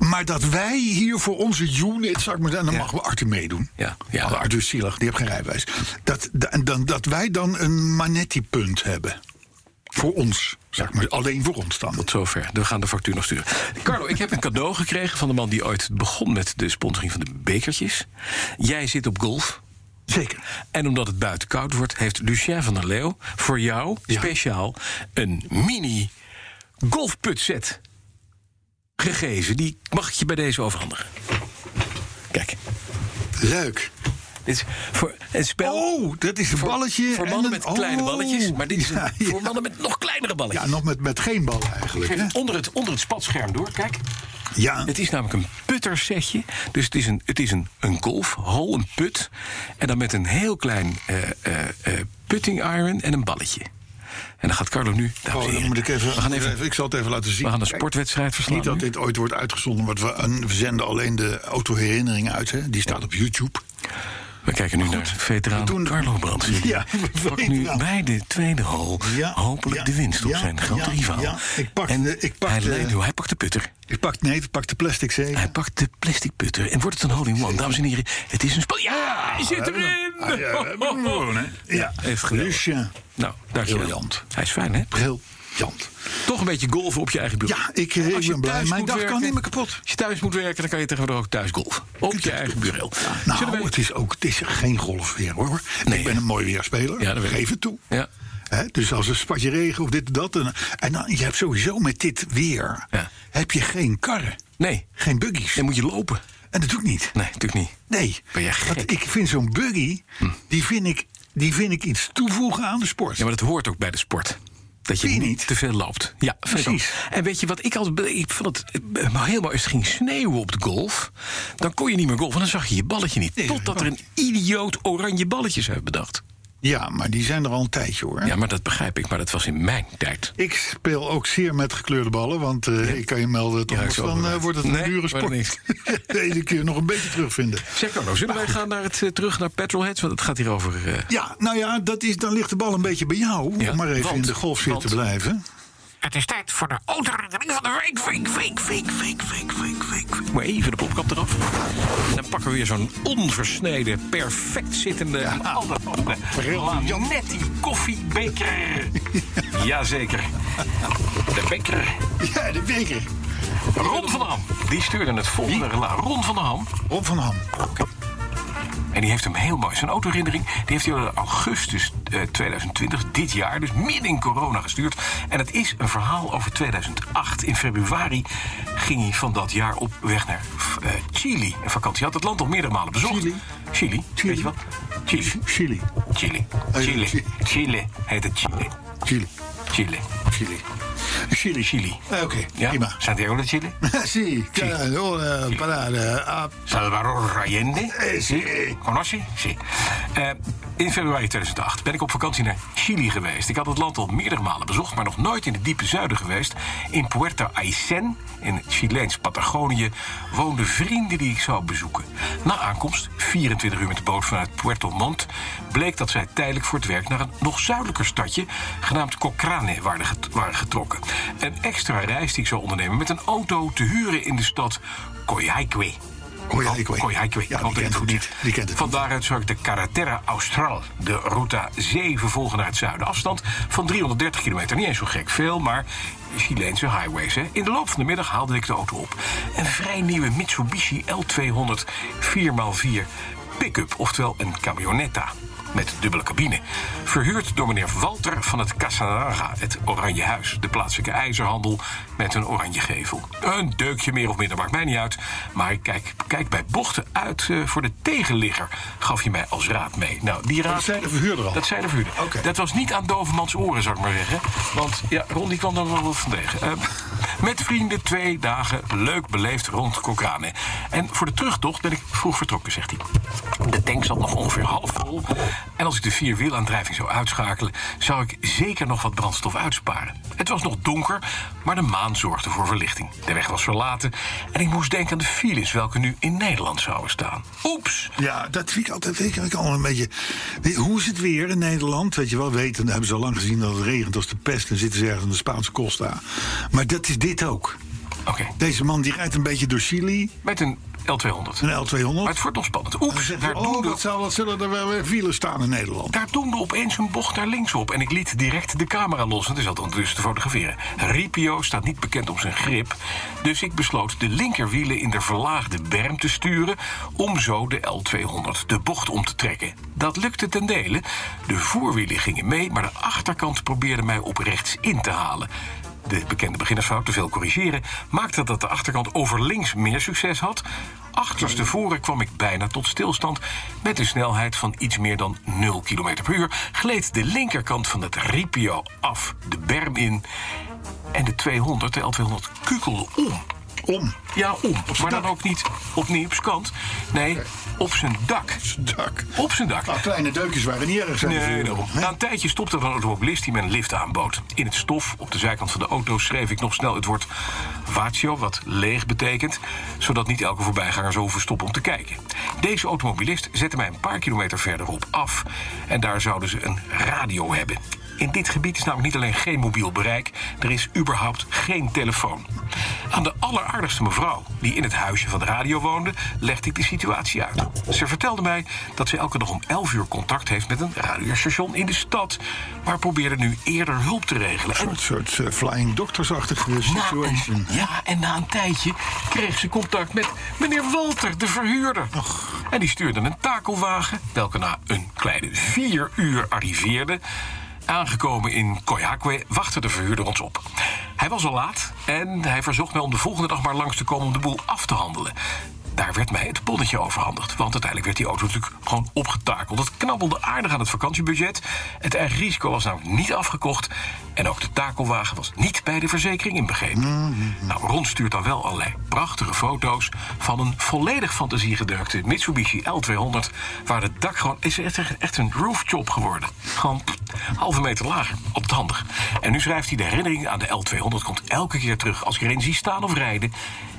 S2: Maar dat wij hier voor onze unit, zou ik maar zeggen, dan
S3: Ja.
S2: mag we Arthur meedoen.
S3: Ja, ja.
S2: Want Arthur is zielig, die heeft geen rijbewijs. Dat, da- dan, dat wij dan een Manetti-punt hebben. Voor ons, zeg maar. Alleen voor ons dan.
S3: Tot zover. We gaan de factuur nog sturen. Carlo, ik heb een cadeau gekregen van de man die ooit begon met de sponsoring van de bekertjes. Jij zit op golf.
S2: Zeker.
S3: En omdat het buiten koud wordt, heeft Lucien van der Leeuw voor jou speciaal een mini golfputset gegeven. Die mag ik je bij deze overhandigen. Kijk,
S2: Leuk.
S3: dit is voor een spel.
S2: Oh, dat is een
S3: voor-
S2: balletje
S3: Voor
S2: en
S3: mannen
S2: een-
S3: met kleine
S2: oh.
S3: balletjes. Maar dit is een-
S2: Ja, ja.
S3: voor mannen met nog kleinere balletjes.
S2: Ja, nog met, met geen bal eigenlijk. Hè?
S3: Kijk, onder, het, onder het spatscherm door, kijk.
S2: Ja,
S3: Het is namelijk een puttersetje. Dus het is een, het is een, een golfhol, een put. En dan met een heel klein eh, eh, eh, putting iron en een balletje. En dan gaat Carlo nu... dames en
S2: oh, dan
S3: heren,
S2: moet ik even,
S3: we gaan even
S2: Ik zal het even laten zien.
S3: we gaan een
S2: Kijk,
S3: sportwedstrijd verslaan.
S2: Niet dat
S3: nu.
S2: dit ooit wordt uitgezonden, want we, en we zenden alleen de autoherinnering uit. Hè? Die staat op YouTube.
S3: We kijken nu naar veteraan
S2: we doen-
S3: Carlo Brands.
S2: Ja, we
S3: pakt
S2: weten
S3: nu
S2: wel.
S3: bij de tweede hol
S2: Ja,
S3: hopelijk
S2: ja,
S3: de winst op
S2: ja,
S3: zijn grote
S2: ja,
S3: rivaal.
S2: ja. Ik pak
S3: en
S2: de- ik pak
S3: hij,
S2: de-
S3: leidt door, hij pakt de putter.
S2: Ik pak, nee, ik pak de plastic zeep.
S3: Hij pakt de plastic putter. En wordt het een hole-in-one. Dames en heren, het is een spel. Ja, hij zit
S2: hebben
S3: erin!
S2: hem. Ah, ja, we hebben hem gewoon, hè? Ja.
S3: heeft geweldig.
S2: Lucien.
S3: Nou, dankjewel.
S2: Briljant.
S3: Hij is fijn, hè?
S2: Briljant.
S3: Toch een beetje golven op je eigen bureau.
S2: Ja, ik, eh,
S3: Als
S2: ik
S3: je
S2: ben blij.
S3: thuis
S2: Mijn
S3: moet
S2: dag
S3: werken-
S2: kan niet meer kapot.
S3: Als je thuis moet werken, dan kan je tegenwoordig ook thuis golven. Op je eigen bureau. Zullen
S2: Nou,
S3: wij-
S2: het is ook het is geen golf weer, hoor.
S3: Nee,
S2: ik ben
S3: hè?
S2: een mooi weerspeler.
S3: Ja, dat weet ik.
S2: Geef het toe.
S3: Ja.
S2: Hè, dus als een spatje regen of dit en dat. En, en dan, je hebt sowieso met dit weer...
S3: Ja.
S2: heb je geen karren.
S3: Nee,
S2: Geen buggies.
S3: dan moet je lopen.
S2: En dat doe ik niet.
S3: Nee, natuurlijk niet.
S2: Nee.
S3: Ben jij gek? Hm.
S2: Want ik vind zo'n buggy... Die, vind ik, die vind ik iets toevoegen aan de sport.
S3: Ja, maar dat hoort ook bij de sport. Dat je
S2: Vind je
S3: niet
S2: niet?
S3: te veel loopt. Ja, vind ik
S2: Precies.
S3: ook. En weet je wat ik altijd. be- Ik vond het eh, maar helemaal. Als het ging sneeuwen op de golf. dan kon je niet meer golfen. Dan zag je je balletje niet.
S2: Nee,
S3: Totdat
S2: dat
S3: er een idioot oranje balletjes heeft bedacht.
S2: Ja, maar die zijn er al een tijdje, hoor.
S3: Ja, maar dat begrijp ik. Maar dat was in mijn tijd.
S2: Ik speel ook zeer met gekleurde ballen, want eh, ik kan je melden dat anders
S3: ik zou
S2: dan
S3: ook
S2: eh,
S3: wel.
S2: wordt het een
S3: Nee,
S2: dure
S3: wordt
S2: sport. Deze keer nog een beetje terugvinden.
S3: Zeg Carlo, zullen wij gaan naar het, eh, terug naar Petrolheads? Want het gaat hier over. eh,
S2: Ja, nou ja, dat is, dan ligt de bal een beetje bij jou,
S3: Ja,
S2: om maar even
S3: want-
S2: in de golf zitten
S3: want-
S2: te blijven.
S3: Het is tijd voor de autoherinnering van de week, week, week, week, week, week, week, week. Maar even de popkap eraf. En dan pakken we weer zo'n onversneden, perfect zittende... Ja. Oh, Lanetti koffiebeker. Jazeker. De beker.
S2: Ja, de beker.
S3: Ron van Ham. Die stuurde het volgende. relaas. Ron van Ham.
S2: Rob van Ham.
S3: En die heeft hem heel mooi. Zijn autoherinnering die heeft hij al in augustus eh, 2020, dit jaar, dus midden in corona gestuurd. En het is een verhaal over 2008. In februari ging hij van dat jaar op weg naar eh, Chili. Een vakantie. Hij had het land nog meerdere malen bezocht.
S2: Chili?
S3: Chili. Weet je wat? Chili.
S2: Chili. Oh,
S3: Chili.
S2: ja,
S3: Chili.
S2: Chili.
S3: Chili. Heet het Chili.
S2: Chili.
S3: Chili.
S2: Chili.
S3: Chili. Chili.
S2: Eh, Oké,
S3: Ja?
S2: prima.
S3: Santiago de Chili.
S2: Si, claro, eh, parade, ah,
S3: Salvador Allende.
S2: eh, si.
S3: Conosci? Sí. Eh, in februari 2008 ben ik op vakantie naar Chili geweest. Ik had het land al meerdere malen bezocht, maar nog nooit in het diepe zuiden geweest. In Puerto Aysén, in het Chileens Patagonië, woonden vrienden die ik zou bezoeken. Na aankomst, 24 uur met de boot vanuit Puerto Montt, bleek dat zij tijdelijk voor het werk naar een nog zuidelijker stadje, genaamd Cochrane, waren get- waren getrokken. Een extra reis die ik zou ondernemen met een auto te huren in de stad Coyhaique.
S2: Coyhaique.
S3: Coyhaique.
S2: Ja,
S3: Oh, Ik hoop
S2: die
S3: dat
S2: kent
S3: ik
S2: het
S3: het
S2: niet. Die kent het
S3: Van van daaruit zou ik de Carretera Austral, de Ruta 7, volgen naar het zuiden. Afstand van 330 kilometer. Niet eens zo gek veel, maar Chileense highways. Hè. In de loop van de middag haalde ik de auto op. Een vrij nieuwe Mitsubishi L200 4x4 pick-up, oftewel een camionetta. Met dubbele cabine. Verhuurd door meneer Walter van het Casanaga, het Oranje Huis. De plaatselijke ijzerhandel met een oranje gevel. Een deukje meer of minder maakt mij niet uit. Maar ik kijk, kijk bij bochten uit eh, voor de tegenligger, gaf je mij als raad mee. Nou, die raad.
S2: Dat zei de verhuurder al.
S3: Dat zei de verhuurder.
S2: Oké.
S3: Dat was niet aan Dovermans oren, zou ik maar zeggen. Want ja, Ron die kwam dan wel wat van tegen. Eh, met vrienden twee dagen leuk beleefd rond Cochrane. En voor de terugtocht ben ik vroeg vertrokken, zegt hij. De tank zat nog ongeveer half vol. En als ik de vierwielaandrijving zou uitschakelen, zou ik zeker nog wat brandstof uitsparen. Het was nog donker, maar de maan zorgde voor verlichting. De weg was verlaten en ik moest denken aan de files welke nu in Nederland zouden staan. Oeps!
S2: Ja, dat vind ik altijd vind ik al een beetje. Weet- Hoe is het weer in Nederland? Weet je wel, weten, hebben ze al lang gezien dat het regent als de pest. Dan zitten ze ergens in de Spaanse Costa. Maar dat is dit ook.
S3: Oké,
S2: Deze man die rijdt een beetje door Chili,
S3: met een L200.
S2: een L200.
S3: Maar het wordt nog spannend.
S2: En dan
S3: Oeps,
S2: zeggen
S3: daar
S2: ze,
S3: doen
S2: oh,
S3: we
S2: wat, zou, wat zullen er wel weer wielen staan in Nederland?
S3: Daar doemde opeens een bocht naar links op en ik liet direct de camera los. En er zat ondertussen te fotograferen. Ripio staat niet bekend om zijn grip. Dus ik besloot de linkerwielen in de verlaagde berm te sturen... om zo de L200 de bocht om te trekken. Dat lukte ten dele. De voorwielen gingen mee, maar de achterkant probeerde mij op rechts in te halen. de bekende beginnersfout, te veel corrigeren, maakte dat de achterkant overlinks meer succes had. Achterstevoren kwam ik bijna tot stilstand. Met een snelheid van iets meer dan 0 km per uur gleed de linkerkant van het Ripio af de berm in. En de 200, de L200, kukelde om.
S2: Om.
S3: Ja, om. Maar dan
S2: dak.
S3: ook niet opnieuw op zijn kant. Nee, op zijn dak.
S2: Dak.
S3: Op zijn dak.
S2: Nou, kleine deukjes waren niet erg. zijn
S3: Nee,
S2: ze-
S3: daarom.
S2: hè?
S3: Na een tijdje stopte er een automobilist die me een lift aanbood. In het stof op de zijkant van de auto schreef ik nog snel het woord vatio, wat leeg betekent, zodat niet elke voorbijganger zo hoeft te stoppen om te kijken. Deze automobilist zette mij een paar kilometer verderop af en daar zouden ze een radio hebben. In dit gebied is namelijk niet alleen geen mobiel bereik, er is überhaupt geen telefoon. Aan de alleraardigste mevrouw die in het huisje van de radio woonde, legde ik de situatie uit. Ze vertelde mij dat ze elke dag om 11 uur contact heeft met een radiostation in de stad, maar probeerde nu eerder hulp te regelen. En
S2: Een soort soort, eh, flying doctorsachtige
S3: na een-
S2: situation.
S3: ja, en na een tijdje kreeg ze contact met meneer Walter, de verhuurder. En die stuurde een takelwagen, welke na een kleine vier uur arriveerde. Aangekomen in Koyakwe wachtte de verhuurder ons op. Hij was al laat en hij verzocht mij om de volgende dag maar langs te komen om de boel af te handelen. Daar werd mij het bonnetje overhandigd. Want uiteindelijk werd die auto natuurlijk gewoon opgetakeld. Dat knabbelde aardig aan het vakantiebudget. Het eigen risico was namelijk niet afgekocht. En ook de takelwagen was niet bij de verzekering inbegrepen. Nou, Ron stuurt dan wel allerlei prachtige foto's... van een volledig fantasiegedeukte Mitsubishi L200... waar het dak gewoon... is echt, echt- echt een rooftop geworden. Gewoon pff, halve meter lager. Op het handig. En nu schrijft hij de herinnering aan de L200... komt elke keer terug als ik erin zie staan of rijden...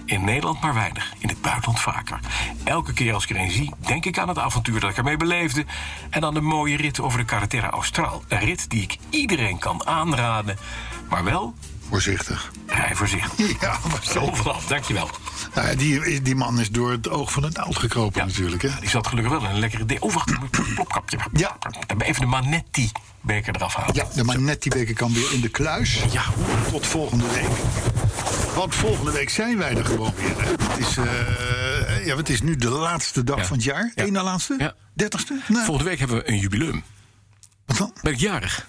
S3: In Nederland maar weinig, in het buitenland vaker. Elke keer als ik er een zie, denk ik aan het avontuur dat ik ermee beleefde. En aan de mooie rit over de Carretera Austral. Een rit die ik iedereen kan aanraden. Maar wel,
S2: Voorzichtig.
S3: rij voorzichtig.
S2: Ja, maar zo.
S3: Zo vanaf, dankjewel.
S2: Nou, ja, die, is- die man is door het oog van het oud gekropen
S3: Ja.
S2: natuurlijk. Hè?
S3: Die zat gelukkig wel in een lekkere... De oh, wacht, ik moet een plopkapje.
S2: Ja.
S3: Dan ben ik Even de Manetti-beker eraf halen.
S2: Ja, de Manetti-beker kan weer in de kluis.
S3: Ja.
S2: Tot volgende week. Want volgende week zijn wij er gewoon weer. hè. Het is, eh, ja, het is nu de laatste dag
S3: Ja.
S2: van het jaar.
S3: Ja.
S2: Eén na laatste?
S3: Ja.
S2: Dertigste? Nee.
S3: Volgende week hebben we een jubileum.
S2: Wat dan?
S3: Ben ik jarig?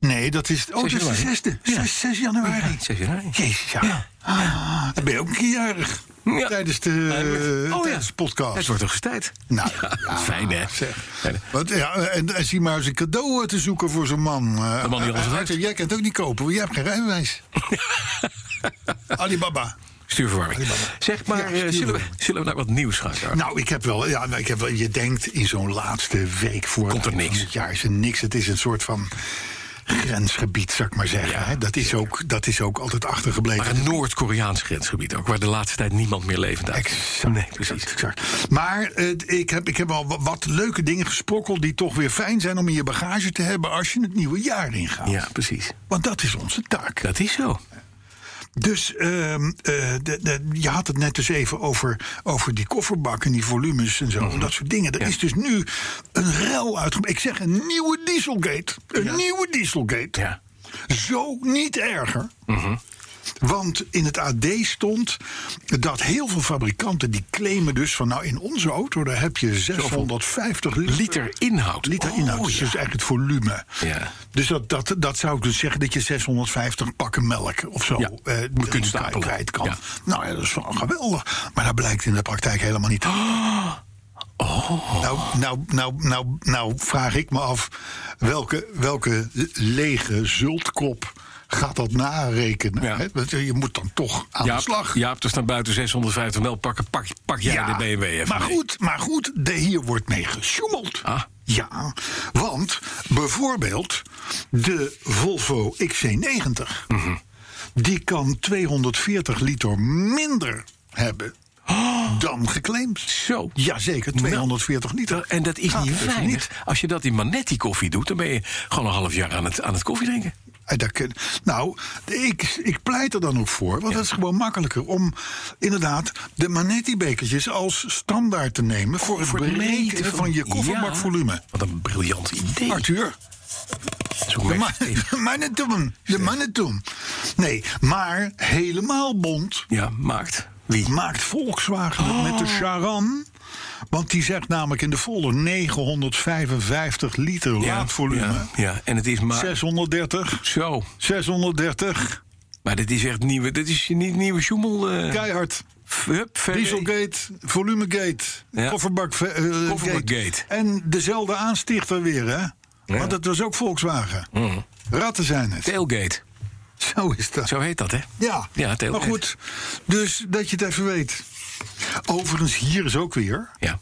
S2: Nee, dat is, oh, dat is de
S3: januari.
S2: zesde.
S3: Ja.
S2: 6, januari.
S3: 6 januari.
S2: Jezus, ja. Ah, dan ben je ook een keer jarig.
S3: Ja.
S2: Tijdens de, eh,
S3: Oh, ja.
S2: tijdens de podcast.
S3: Het wordt een gestijd.
S2: Nou,
S3: Ja, fijn hè? Fijn, hè?
S2: Want, ja, en, en zie maar eens een cadeau eh, te zoeken voor zo'n man. Eh,
S3: De man die alles
S2: eh,
S3: heeft.
S2: Arthur, Jij kan het ook niet kopen, want jij hebt geen rijbewijs. Alibaba.
S3: Stuurverwarming. Zeg maar,
S2: Ja,
S3: eh, zullen, we,
S2: stuurverwarming.
S3: zullen we naar wat nieuws gaan? Karel?
S2: Nou, ik heb wel, ja, nou, ik heb wel, je denkt in zo'n laatste week voor
S3: Komt er
S2: het eind
S3: niks.
S2: van het jaar is er niks. Het is een soort van grensgebied, zou ik maar zeggen.
S3: Ja,
S2: hè. Dat, is ook, dat is ook altijd achtergebleven.
S3: Maar een Noord-Koreaans grensgebied ook, waar de laatste tijd niemand meer levend uit.
S2: Exact,
S3: Nee, precies.
S2: exact, exact. Maar eh, ik, heb, ik heb al wa- wat leuke dingen gesprokkeld... die toch weer fijn zijn om in je bagage te hebben... als je het nieuwe jaar ingaat.
S3: Ja, precies.
S2: Want dat is onze taak.
S3: Dat is zo.
S2: Dus ehm, eh, de- de- je had het net dus even over, over die kofferbak en die volumes en zo. en Dat soort dingen. Er is dus nu een rel uitgebroken. Ik zeg een nieuwe dieselgate. Een nieuwe dieselgate.
S3: Ja.
S2: Zo niet erger. Want in het AD stond dat heel veel fabrikanten die claimen dus van nou in onze auto daar heb je 650 liter,
S3: Liter inhoud.
S2: liter
S3: Oh,
S2: inhoud.
S3: ja.
S2: Dus eigenlijk het volume.
S3: Ja.
S2: Dus dat, dat, dat zou ik dus zeggen dat je 650 pakken melk of zo
S3: Ja,
S2: eh,
S3: moet
S2: erin
S3: kunnen stapelen.
S2: kwijt kan.
S3: Ja.
S2: Nou ja, dat is wel geweldig. Maar dat blijkt in de praktijk helemaal niet. Nou, nou, nou, nou, nou vraag ik me af welke, welke lege zultkop gaat dat narekenen.
S3: Ja.
S2: hè? Want Je moet dan toch aan de slag.
S3: Jaap, er staan buiten 650 melkpakken. Pak, pak jij de BMW even
S2: Maar
S3: mee.
S2: goed, maar goed de, hier wordt mee gesjoemeld.
S3: Ah.
S2: Ja, want bijvoorbeeld de Volvo XC90...
S3: Mhm.
S2: die kan 240 liter minder hebben dan geclaimd.
S3: Oh. Zo.
S2: Jazeker, 240 liter.
S3: En dat is
S2: Gaat
S3: niet
S2: dus
S3: weinig. Als je dat in Manetti koffie doet, dan ben je gewoon een half jaar aan het, aan het koffie drinken.
S2: En dat kun- nou, ik, ik pleit er dan ook voor, want dat is gewoon makkelijker om inderdaad de Manetti-bekertjes als standaard te nemen voor het berekenen van, je kofferbakvolume.
S3: Ja, wat een briljant idee.
S2: Arthur,
S3: Zo'n
S2: de,
S3: merk-
S2: ma de mannentoem, de mannentoem. Nee, maar helemaal bond
S3: Ja, maakt. Wie? Oh.
S2: maakt Volkswagen het met de Charan Want die zegt namelijk in de folder 955 liter laadvolume.
S3: ja, ja. En het is maar
S2: 630,
S3: zo.
S2: 630,
S3: Maar dit is echt nieuwe. Dit is niet nieuwe joemel. eh
S2: keihard.
S3: f- hup, verree.
S2: Dieselgate, volumegate,
S3: Ja.
S2: kofferbak, eh, eh,
S3: Kofferbakgate.
S2: gate. En dezelfde aanstichter weer, hè? Want dat was ook Volkswagen.
S3: Mhm.
S2: Ratten zijn het.
S3: Tailgate.
S2: Zo is dat.
S3: Zo heet dat, hè?
S2: Ja,
S3: Ja, tailgate.
S2: maar goed. Dus dat je het even weet. Overigens, hier is ook weer.
S3: Ja.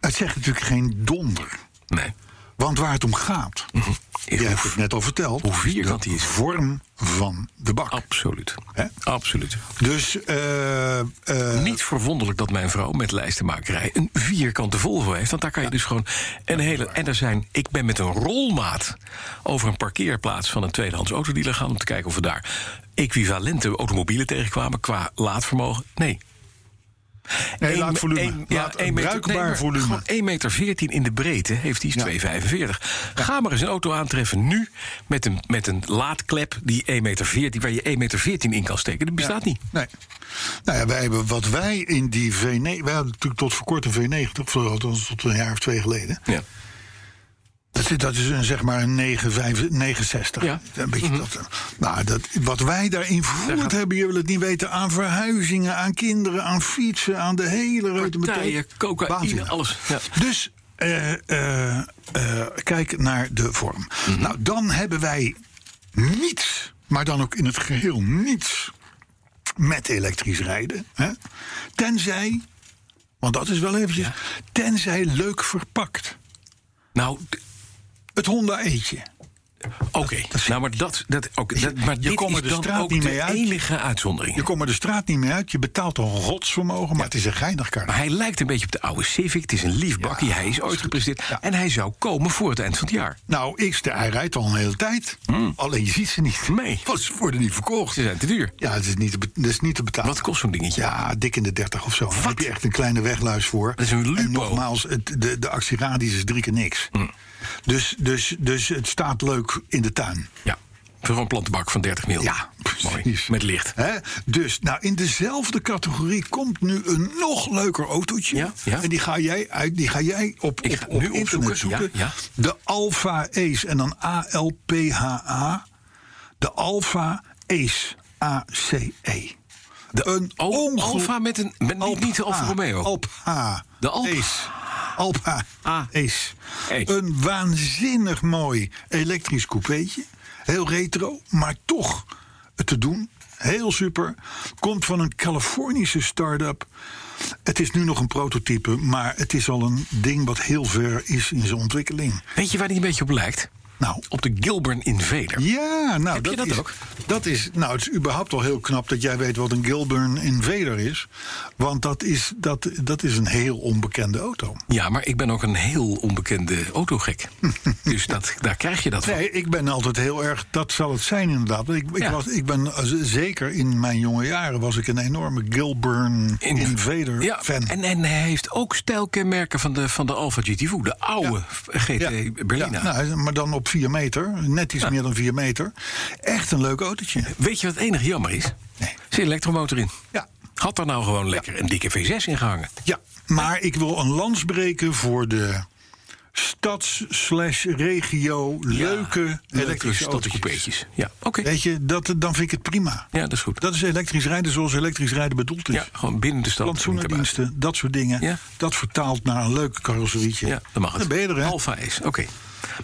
S2: Het zegt natuurlijk geen donder.
S3: Nee.
S2: Want waar het om gaat,
S3: Mhm. Is
S2: je hebt
S3: hoe-
S2: het net al verteld.
S3: hoe vierkant die is.
S2: Vorm van de bak.
S3: Absoluut.
S2: Hè?
S3: Absoluut.
S2: Dus eh, eh,
S3: Niet verwonderlijk dat mijn vrouw met lijstenmakerij een vierkante Volvo heeft. Want daar kan je dus gewoon een hele. En er zijn. Ik ben met een rolmaat over een parkeerplaats van een tweedehands autodealer gaan. om te kijken of we daar equivalente automobielen tegenkwamen. qua laadvermogen. Nee.
S2: nee,
S3: Eén-
S2: laat volume.
S3: één-
S2: Laat
S3: één meter-
S2: bruikbaar
S3: nee, maar
S2: volume.
S3: Gewoon 1,14 meter in de breedte heeft die is 2,45. Ga maar eens een auto aantreffen nu met een, met een laadklep die 1,14 meter, waar je 1,14 meter in kan steken. Dat bestaat niet.
S2: Nee. Nou ja, wij hebben wat wij in die V90... Wij hadden natuurlijk tot voor kort een V90, of althans tot een jaar of twee geleden.
S3: Ja.
S2: Dat is, dat is een, zeg maar een 95 69.
S3: Ja. Mhm.
S2: Een beetje dat, nou, dat, wat wij daarin vervoerd hebben, je wil het niet weten... aan verhuizingen, aan kinderen, aan fietsen, aan de hele rode
S3: Partijen, cocaïne,
S2: Waanzinnig.
S3: alles, ja.
S2: Dus eh, eh, eh, kijk naar de vorm.
S3: Mhm.
S2: Nou, dan hebben wij niets, maar dan ook in het geheel niets... met elektrisch rijden. Hè? Tenzij, want dat is wel eventjes... tenzij leuk verpakt.
S3: Nou, d-
S2: Het Honda eetje.
S3: oké. Nou, maar dat, dat, oké, dat maar
S2: je
S3: dit
S2: komt
S3: is
S2: er de
S3: dan
S2: straat
S3: ook
S2: niet
S3: de
S2: mee uit.
S3: enige uitzondering.
S2: Je komt er de straat niet meer uit. Je betaalt een rotsvermogen, maar het is een geinig kar.
S3: Maar hij lijkt een beetje op de oude Civic. Het is een lief bakkie. hij is ooit gepresenteerd. En hij zou komen voor het eind van het jaar.
S2: Nou, ik, sta- hij rijdt al een hele tijd. Alleen je ziet ze niet.
S3: Mhm. Nee.
S2: Want ze worden niet verkocht.
S3: Ze zijn te duur.
S2: Ja, het is niet te, be- dat is niet te betalen.
S3: Wat kost zo'n dingetje?
S2: Ja, dik in de 30 of zo. Daar heb je echt een kleine wegluis voor.
S3: Dat is een lupo. Hm.
S2: En nogmaals, het, de, de actieradius is drie keer niks. Dus, dus, dus het staat leuk in de tuin.
S3: Ja. Voor een plantenbak van 30 mil.
S2: Ja,
S3: Mooi.
S2: precies.
S3: Met licht.
S2: Hè? Dus, nou, in dezelfde categorie komt nu een nog leuker autootje.
S3: Ja, ja.
S2: En die ga jij, uit, die ga jij op,
S3: Ik
S2: op,
S3: ga
S2: op
S3: nu
S2: internet
S3: opzoeken,
S2: zoeken.
S3: ja,
S2: De Alfa Ace en dan A-L-P-H-A. De Alfa Ace A-C-E. Een
S3: Al-
S2: ongel-
S3: Oh, Alfa met een... Met, niet,
S2: Alp
S3: niet de Alfa
S2: A,
S3: Romeo.
S2: Alp H.
S3: De Alp.
S2: Ace. Alp H.
S3: A.
S2: Ace.
S3: Ace.
S2: Een waanzinnig mooi elektrisch coupeetje. Heel retro, maar toch te doen. Heel super. Komt van een Californische start-up. Het is nu nog een prototype, maar het is al een ding wat heel ver is in zijn ontwikkeling.
S3: Weet je waar die een beetje op lijkt?
S2: Nou,
S3: Op de Gilburn Invader.
S2: ja, nou,
S3: Heb je dat
S2: is,
S3: ook?
S2: Dat is, nou, het is überhaupt al heel knap dat jij weet wat een Gilburn Invader is. Want dat is, dat, dat is een heel onbekende auto.
S3: Ja, maar ik ben ook een heel onbekende autogek. dus dat, daar krijg je dat van.
S2: Nee, ik ben altijd heel erg, dat zal het zijn inderdaad. Ik, ik,
S3: Ja.
S2: was, ik ben eh, z- zeker in mijn jonge jaren was ik een enorme Gilburn
S3: In-
S2: Invader
S3: Ja,
S2: fan.
S3: En, en hij heeft ook stijlkenmerken van de, van de Alfa GT4. De oude GT
S2: Ja.
S3: Berlina.
S2: Ja, nou, maar dan op 4 meter, net iets meer dan 4 meter. Echt een leuk autootje.
S3: Weet je wat het enige jammer is?
S2: Nee.
S3: Er zit een elektromotor in.
S2: Ja.
S3: Had daar nou gewoon lekker een dikke V6 in gehangen.
S2: Ja, maar ik wil een lans breken voor de stads-slash-regio leuke elektrische autootjes.
S3: stadcoupeetjes. Ja, oké.
S2: Weet je, dat, dan vind ik het prima.
S3: Ja, dat is goed.
S2: Dat is elektrisch rijden zoals elektrisch rijden bedoeld is.
S3: ja, gewoon binnen de stad. niet
S2: Plantsoenendiensten, dat soort dingen.
S3: Ja.
S2: Dat vertaalt naar een leuk carrosserietje.
S3: erbuiten. Ja, dan mag het.
S2: Dan ben je er, hè?
S3: Alfa is, oké.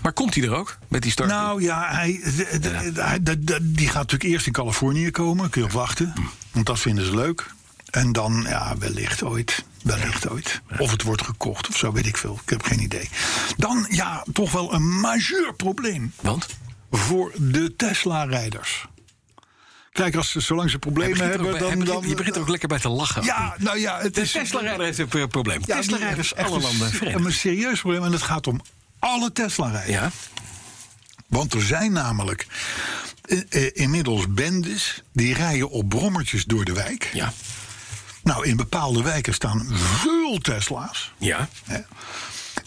S3: Maar komt hij er ook met die start?
S2: Nou ja, hij, de- de- hij- de- de- die gaat natuurlijk eerst in Californië komen. Kun je op wachten.
S3: Hm.
S2: Want dat vinden ze leuk. En dan, ja, wellicht ooit. Wellicht ooit. Of het wordt gekocht of zo, weet ik veel. Ik heb geen idee. Dan, ja, toch wel een majeur probleem
S3: Want?
S2: voor de Tesla-rijders. Kijk, als ze, zolang ze
S3: Hij
S2: problemen
S3: begint er ook
S2: hebben,
S3: bij-
S2: dan...
S3: hij begint-
S2: dan
S3: je begint er ook lekker bij te lachen.
S2: ja, nou ja, het
S3: De
S2: is...
S3: Tesla-rijder heeft een pro- probleem.
S2: Ja,
S3: Tesla-rijders,
S2: die- echt
S3: alle
S2: een-
S3: landen
S2: Een
S3: verenigd.
S2: serieus probleem, en het gaat om alle Tesla-rijders.
S3: Ja,
S2: Want er zijn namelijk eh, eh, inmiddels bendes die rijden op brommertjes door de wijk.
S3: ja,
S2: Nou, in bepaalde wijken staan veel Tesla's.
S3: ja.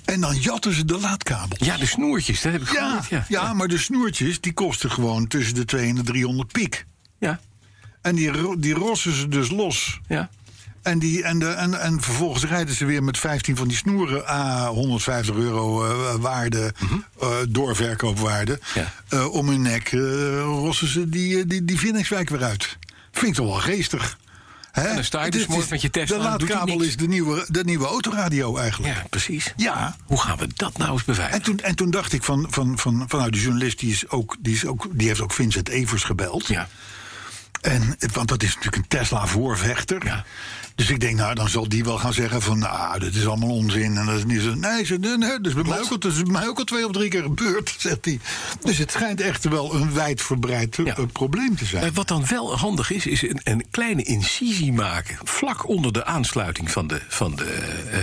S2: En dan jatten ze de laadkabel.
S3: Ja, de snoertjes, dat heb ik
S2: Ja,
S3: gehoord.
S2: ja, maar de snoertjes die kosten gewoon tussen de 200 en de 300 piek.
S3: ja.
S2: En die, ro- die rossen ze dus los.
S3: ja.
S2: En, die, en, de, en, en vervolgens rijden ze weer met 15 van die snoeren A 150 euro eh, waarde, eh, doorverkoopwaarde.
S3: Mhm. Ja.
S2: Eh, om hun nek eh, rossen ze die, eh, die, die Vinnigswijk weer uit. Vind ik toch wel geestig. Hè?
S3: En dan sta je
S2: Dit
S3: dus
S2: is-
S3: morgen met je Tesla,
S2: De
S3: doet die
S2: laadkabel
S3: niks.
S2: is de nieuwe, de nieuwe autoradio eigenlijk.
S3: Ja, precies.
S2: ja.
S3: Hoe gaan we dat nou eens bewijzen?
S2: En toen, en toen dacht ik van, van, van, vanuit de journalist, die, is ook, die, is ook, die heeft ook Vincent Evers gebeld.
S3: Ja.
S2: En, het- want dat is natuurlijk een Tesla-voorvechter.
S3: Ja.
S2: Dus ik denk, nou, dan zal die wel gaan zeggen van... nou, dit is allemaal onzin. En dat is niet zo... Nee, ze, nee, nee, dat is bij mij ook al- dat is bij mij ook al twee of drie keer gebeurd, zegt hij. Dus het schijnt echt wel een wijdverbreid eh,
S3: Ja.
S2: eh, probleem te zijn.
S3: Eh, Wat dan wel handig is, is een, een kleine incisie maken. vlak onder de aansluiting van de, van de eh,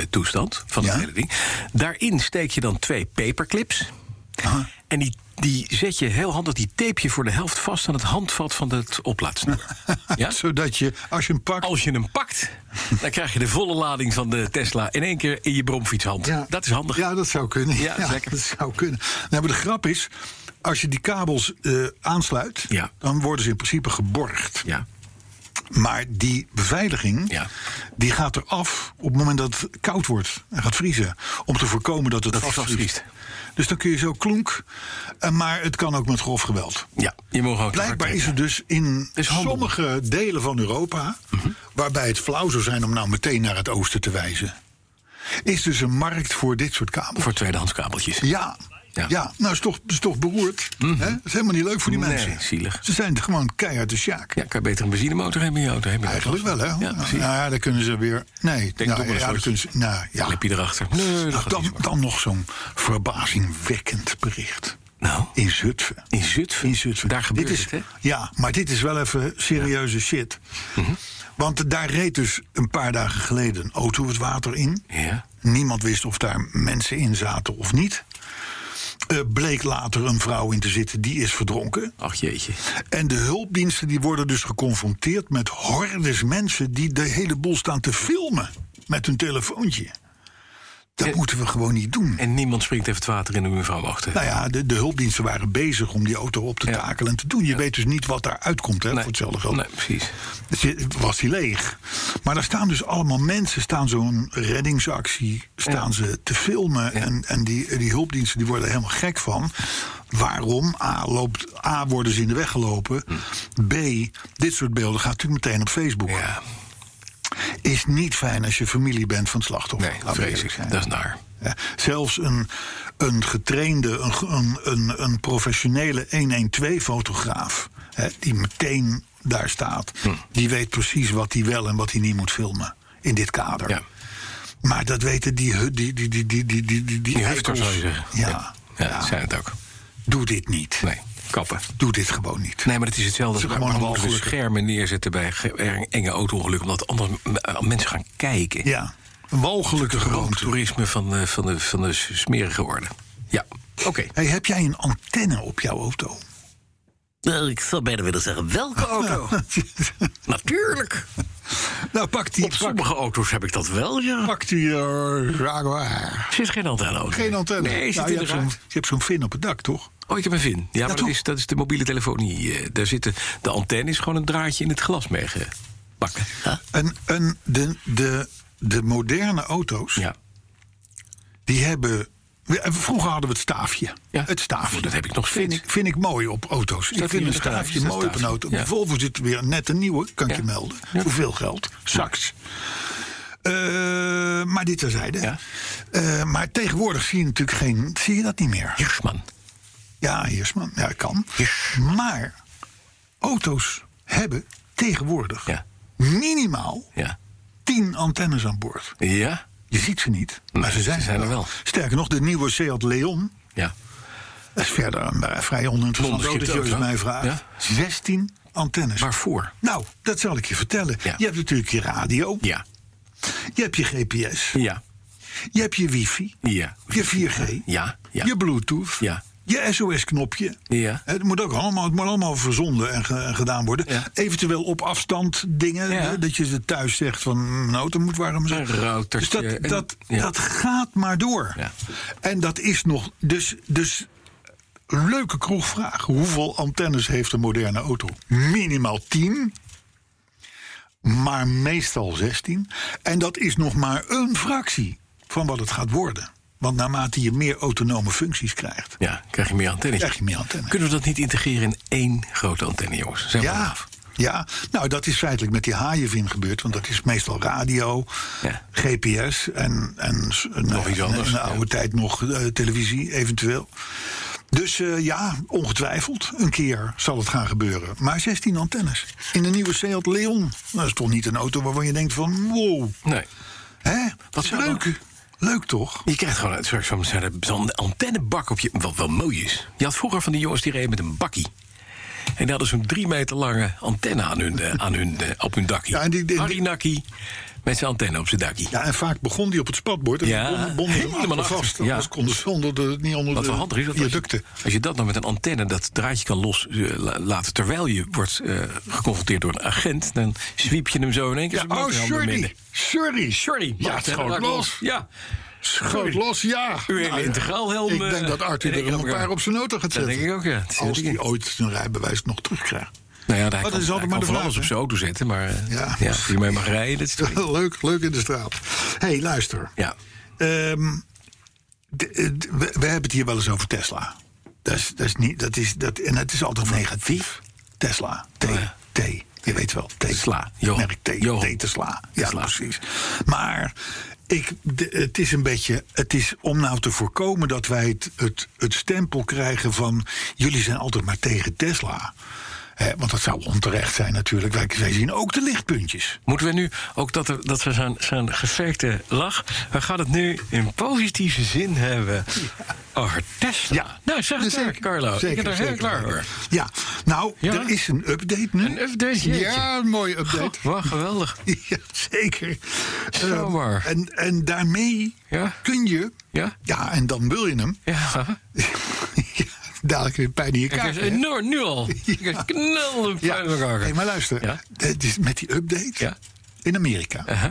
S3: eh, toestand. van het
S2: Ja.
S3: hele ding. Daarin steek je dan twee paperclips. Eh, En die, die zet je heel handig, die tape je voor de helft vast aan het handvat van het oplaadsnoer. ja? Oh,
S2: Zodat je, als je hem pakt...
S3: Als je hem pakt, dan krijg je de volle lading van de Tesla in één keer in je bromfietshand.
S2: Ja.
S3: Dat is handig.
S2: Ja, dat zou kunnen.
S3: Ja, zeker.
S2: dat zou kunnen. Nou, maar de grap is, als je die kabels eh, aansluit...
S3: Ja.
S2: dan worden ze in principe geborgd.
S3: Ja.
S2: Maar die beveiliging
S3: Ja.
S2: die gaat eraf op het moment dat het koud wordt en gaat vriezen. Om te voorkomen dat het
S3: Dat het
S2: vastvriest.
S3: vastvriest.
S2: Dus dan kun je zo klonk, eh, maar het kan ook met grof geweld.
S3: ja, je mag ook
S2: Blijkbaar is er dus in
S3: is Mhm. handel.
S2: sommige delen van Europa, waarbij het flauw zou zijn om nou meteen naar het oosten te wijzen, is dus een markt voor dit soort kabels.
S3: Voor tweedehands kabeltjes.
S2: Ja.
S3: Ja. Mhm.
S2: Ja. nou is toch, is toch beroerd. hè? Dat is helemaal niet leuk voor die
S3: Nee,
S2: mensen.
S3: zielig.
S2: Ze zijn gewoon keihard de sjaak.
S3: Ja, kan je beter een benzinemotor hebben in je auto. Heb je dat
S2: Eigenlijk
S3: vast?
S2: wel, hè?
S3: Ja, precies.
S2: nou ja, dan kunnen ze weer. Nee,
S3: Denk
S2: nou,
S3: toch maar
S2: ja,
S3: een
S2: dan
S3: soort-
S2: kunnen ze. Nou, ja.
S3: Dan heb je erachter. Nee, dat
S2: Nou,
S3: gaat niet
S2: dan,
S3: zo.
S2: dan nog zo'n verbazingwekkend bericht.
S3: Nou,
S2: In Zutphen.
S3: in Zutphen.
S2: In Zutphen.
S3: Daar gebeurt
S2: dit is,
S3: het, hè?
S2: Ja, maar dit is wel even serieuze shit.
S3: Mhm.
S2: Want daar reed dus een paar dagen geleden een auto het water in.
S3: Ja.
S2: Niemand wist of daar mensen in zaten of niet. Eh, bleek later een vrouw in te zitten, die is verdronken.
S3: Ach jeetje.
S2: En de hulpdiensten die worden dus geconfronteerd met hordes mensen die de hele boel staan te filmen met hun telefoontje. Dat
S3: En-
S2: moeten we gewoon niet doen.
S3: En niemand springt even het water in om mevrouw wachten.
S2: nou ja, de, de hulpdiensten waren bezig om die auto op te
S3: Ja.
S2: takelen en te doen. Je weet dus niet wat daaruit komt hè,
S3: Nee.
S2: voor hetzelfde geld.
S3: Nee, precies.
S2: Dus je- Was die leeg. Maar daar staan dus allemaal mensen, staan zo'n reddingsactie, staan ze te filmen. En, en die, die hulpdiensten die worden er helemaal gek van. Waarom? A, loopt, A worden ze in de weg gelopen. B, dit soort beelden gaat natuurlijk meteen op Facebook.
S3: Hm. Ja,
S2: Is niet fijn als je familie bent van het slachtoffer.
S3: nee,
S2: Laten we
S3: vrees
S2: eerlijk
S3: ik.
S2: zijn.
S3: Dat is naar.
S2: Ja, Zelfs een, een getrainde, een, ge- een, een, een professionele 112-fotograaf, die meteen daar staat,
S3: Hm.
S2: die weet precies wat hij wel en wat hij niet moet filmen in dit kader.
S3: Ja.
S2: Maar dat weten die hu- die die die die die die die,
S3: Die hefter, zou je zeggen.
S2: Ja,
S3: ja. Ja, dat zijn het ook.
S2: doe dit niet.
S3: Nee, kappen.
S2: Doe dit gewoon niet.
S3: Nee, maar het is hetzelfde
S2: Het is
S3: als
S2: gewoon
S3: waarom ze
S2: walgelijk.
S3: schermen neerzetten bij ge- er- enge auto-ongelukken. Omdat andere m- eh, mensen gaan kijken.
S2: Ja, een walgelijke
S3: Gewoon
S2: gewoonte.
S3: toerisme van, de- van, de, van de smerige orde. Ja, oké.
S2: Hey, heb jij een antenne op jouw auto?
S3: Eh,
S4: Nou, ik zou bijna willen zeggen, welke auto?
S3: Natuurlijk.
S2: nou, pak die,
S3: Op
S2: pak,
S3: sommige auto's heb ik dat wel, ja.
S2: pak die eh, Jaguar.
S3: Er zit geen antenne auto.
S2: Geen antenne.
S3: Nee, zit
S2: Nou,
S3: in
S2: je,
S3: de
S2: hebt zo'n,
S3: ruit.
S2: je hebt zo'n vin op het dak, toch?
S3: Oh, ik heb een VIN. Ja, maar dat
S2: toch?
S3: is, dat is de mobiele telefonie. eh, Daar zitten, de antenne is gewoon een draadje in het glas meegebakken.
S2: En, en de, de, de moderne auto's,
S3: Ja.
S2: die hebben... Vroeger hadden we het staafje.
S3: Ja.
S2: Het staafje.
S3: Oh, dat heb ik nog
S2: vind
S3: steeds.
S2: ik, vind ik mooi op auto's. Ik
S3: dat
S2: vind
S3: hier
S2: een
S3: in de garage?
S2: staafje
S3: Is dat
S2: mooi op een
S3: staafje?
S2: auto.
S3: Ja.
S2: Bijvoorbeeld Volvo zit weer net een nieuwe, kan
S3: Ja.
S2: ik je melden.
S3: Ja.
S2: Voor veel geld. Saks. Eh, maar dit terzijde.
S3: Ja.
S2: Eh, maar tegenwoordig zie je natuurlijk geen... Zie je dat niet meer?
S3: Hirschman.
S2: Ja, Heersman. Ja, kan. Maar auto's hebben tegenwoordig
S3: Ja.
S2: minimaal
S3: Ja.
S2: 10 antennes aan boord.
S3: Ja?
S2: Je ziet ze niet, maar ze zijn,
S3: zijn er wel.
S2: Sterker nog, de nieuwe Seat Leon...
S3: Ja.
S2: dat is verder een eh, vrij oninteressant
S3: Blonde
S2: autootje
S3: schiet
S2: als je
S3: ook, hè?
S2: mij vraagt.
S3: Ja.
S2: 16 antennes.
S3: Waarvoor?
S2: Nou, dat zal ik je vertellen.
S3: Ja.
S2: Je hebt natuurlijk je radio,
S3: Ja.
S2: je hebt je GPS,
S3: Ja.
S2: je hebt je wifi,
S3: Ja.
S2: je 4G,
S3: Ja. Ja.
S2: je bluetooth,
S3: Ja.
S2: je SOS-knopje.
S3: Ja.
S2: Het moet ook allemaal, het moet allemaal verzonden en, ge- en gedaan worden.
S3: Ja.
S2: Eventueel op afstand dingen.
S3: Ja.
S2: hè, dat je ze thuis zegt van mijn auto moet warm zijn.
S3: Een routertje
S2: Dus
S3: en-
S2: dat, dat,
S3: ja.
S2: dat gaat maar door.
S3: Ja.
S2: En dat is nog. Dus, dus een leuke kroegvraag. Hoeveel antennes heeft een moderne auto? Minimaal 10. maar meestal 16. En dat is nog maar een fractie van wat het gaat worden. Want naarmate je meer autonome functies krijgt,
S3: Ja, krijg je meer antennes.
S2: krijg je meer antennes.
S3: Kunnen we dat niet integreren in één grote antenne, jongens? Zijn we er
S2: Ja,
S3: af?
S2: ja, nou dat is feitelijk met die haaienvin gebeurd. Want dat is meestal radio,
S3: Ja.
S2: GPS en, en s- een,
S3: Nog iets
S2: een-
S3: anders,
S2: een oude
S3: ja.
S2: tijd nog eh, televisie eventueel. Dus eh, ja, ongetwijfeld een keer zal het gaan gebeuren. Maar 16 antennes. In de nieuwe Seat Leon. Dat is toch niet een auto waarvan je denkt van wow.
S3: Nee.
S2: Hè? Wat
S3: zou
S2: leuk. Leuk toch?
S3: Je krijgt gewoon straks zo'n zo'n antennebak op je. Wat wel mooi is. Je had vroeger van die jongens die reden met een bakkie. En die hadden zo'n drie meter lange antenne aan hun, eh, aan hun, eh, op hun dakkie.
S2: Ja, en die- die-
S3: Harry Nakkie met zijn antenne op zijn dakkie.
S2: Ja, en vaak begon die op het spatbord. En
S3: Ja,
S2: ja, bonden ze hem
S3: helemaal
S2: achter vast.
S3: achter, ja.
S2: Anders konden ze onder de, niet onder
S3: Wat
S2: de
S3: wel handig is, dat als,
S2: viaducten.
S3: je, als je dat nou met een antenne, dat draadje kan los eh, la- laten... terwijl je wordt eh, geconfronteerd door een agent... dan sweep je hem zo in één keer.
S2: Ja,
S3: zijn
S2: oh,
S3: boterham door midden.
S2: sorry. Sorry.
S3: Sorry.
S2: Ja,
S3: maakt
S2: het
S3: het
S2: schoot
S3: raak
S2: los.
S3: Ja.
S2: Schoot los, ja.
S3: U heeft
S2: Nou ja,
S3: integraalhelm,
S2: Ik
S3: eh,
S2: denk dat Arthur
S3: en ik
S2: er een
S3: ook, ja.
S2: paar op zijn noten gaat
S3: Dat
S2: zetten.
S3: denk ik ook, ja. Dat is
S2: Als hij
S3: heel ding.
S2: ooit zijn rijbewijs nog terugkrijgt.
S3: Nou ja, daar
S2: Oh, dat
S3: kan,
S2: is altijd
S3: hij
S2: maar
S3: kan
S2: de
S3: van
S2: vraag,
S3: alles op
S2: hè?
S3: zijn auto zetten, maar eh,
S2: Ja.
S3: ja. als je mee mag rijden, dat is toch...
S2: leuk, leuk in de straat. Hé, hey, luister.
S3: Ja.
S2: Ehm, de- eh, d- we, we hebben het hier wel eens over Tesla. Dat is, dat is niet, dat is, dat, en het is altijd negatief. Tesla. T.
S3: Oh ja.
S2: T. Je weet wel. T.
S3: Tesla. Johan.
S2: Merk T.
S3: Johan.
S2: T. Tesla. Ja,
S3: Tesla.
S2: precies. Maar ik, de- het is een beetje. Het is om nou te voorkomen dat wij het, het, het stempel krijgen van. Jullie zijn altijd maar tegen Tesla. Hè, want dat zou onterecht zijn natuurlijk. Wij, wij zien ook de lichtpuntjes.
S3: Moeten we nu ook dat, er, dat we zijn, zijn geverkte lach... we gaan het nu in positieve zin hebben over Tesla. Nou, zeg het maar, Carlo. ik ben er heel klaar voor.
S2: Ja, nou,
S3: Ja?
S2: er is een update nu.
S3: Een update, jeetje.
S2: Ja, een mooie update.
S3: Goh, Wat geweldig.
S2: Ja, zeker.
S3: Zo
S2: Ehm,
S3: maar.
S2: en, en daarmee
S3: Ja?
S2: kun je...
S3: Ja?
S2: Ja, en dan wil je hem.
S3: Ja,
S2: Ja, Dadelijk weer pijn in je
S3: ik
S2: kaak.
S3: heb
S2: hè?
S3: enorm nu al. Ik heb knallen
S2: Ja,
S3: pijn in elkaar.
S2: hey, maar luister.
S3: Ja?
S2: Het is met die update
S3: Ja.
S2: in Amerika...
S3: Uh-huh.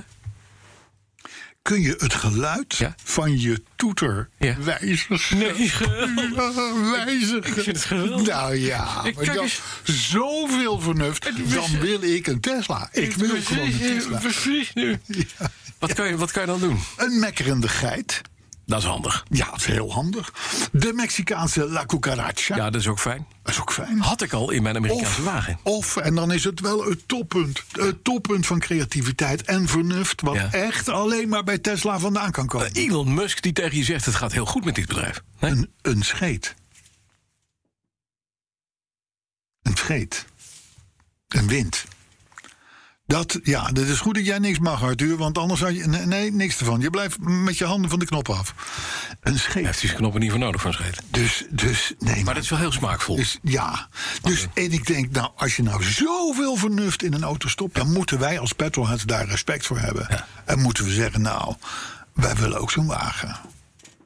S2: kun je het geluid
S3: Ja?
S2: van je toeter
S3: Ja.
S2: wijzigen.
S3: Nee, geweldig.
S2: Ja, wijzigen.
S3: Ik vind het geweldig.
S2: Nou ja,
S3: Ik-
S2: maar
S3: kijk
S2: dan,
S3: eens.
S2: zoveel vernuft.
S3: Het-
S2: Dan wil ik een Tesla. Ik wil
S3: Precies,
S2: gewoon een Tesla.
S3: Precies nu. Wat, kan je, wat kan je dan doen?
S2: Een mekkerende geit.
S3: Dat is handig.
S2: Ja, dat is heel handig. De Mexicaanse La Cucaracha.
S3: Ja, dat is ook fijn.
S2: Dat is ook fijn.
S3: Had ik al in mijn Amerikaanse wagen.
S2: Of, en dan is het wel het toppunt. Het toppunt van creativiteit en vernuft. Wat
S3: Ja.
S2: echt alleen maar bij Tesla vandaan kan komen.
S3: Eh, Elon Musk die tegen je zegt: het gaat heel goed met dit bedrijf. Nee?
S2: Een, een scheet. Een scheet. Een wind. Dat, ja, dat is goed dat jij niks mag, Arthur. Want anders had je... Nee, nee, niks ervan. Je blijft met je handen van de knop af. Een
S3: Hij
S2: scheet.
S3: heeft die knoppen niet voor nodig van scheet.
S2: Dus, dus, nee.
S3: Maar dat is wel heel smaakvol.
S2: Dus ja, dus, en ik denk, nou, als je nou zoveel vernuft in een auto stopt, dan moeten wij als petrolheads daar respect voor hebben. En moeten we zeggen, nou, wij willen ook zo'n wagen.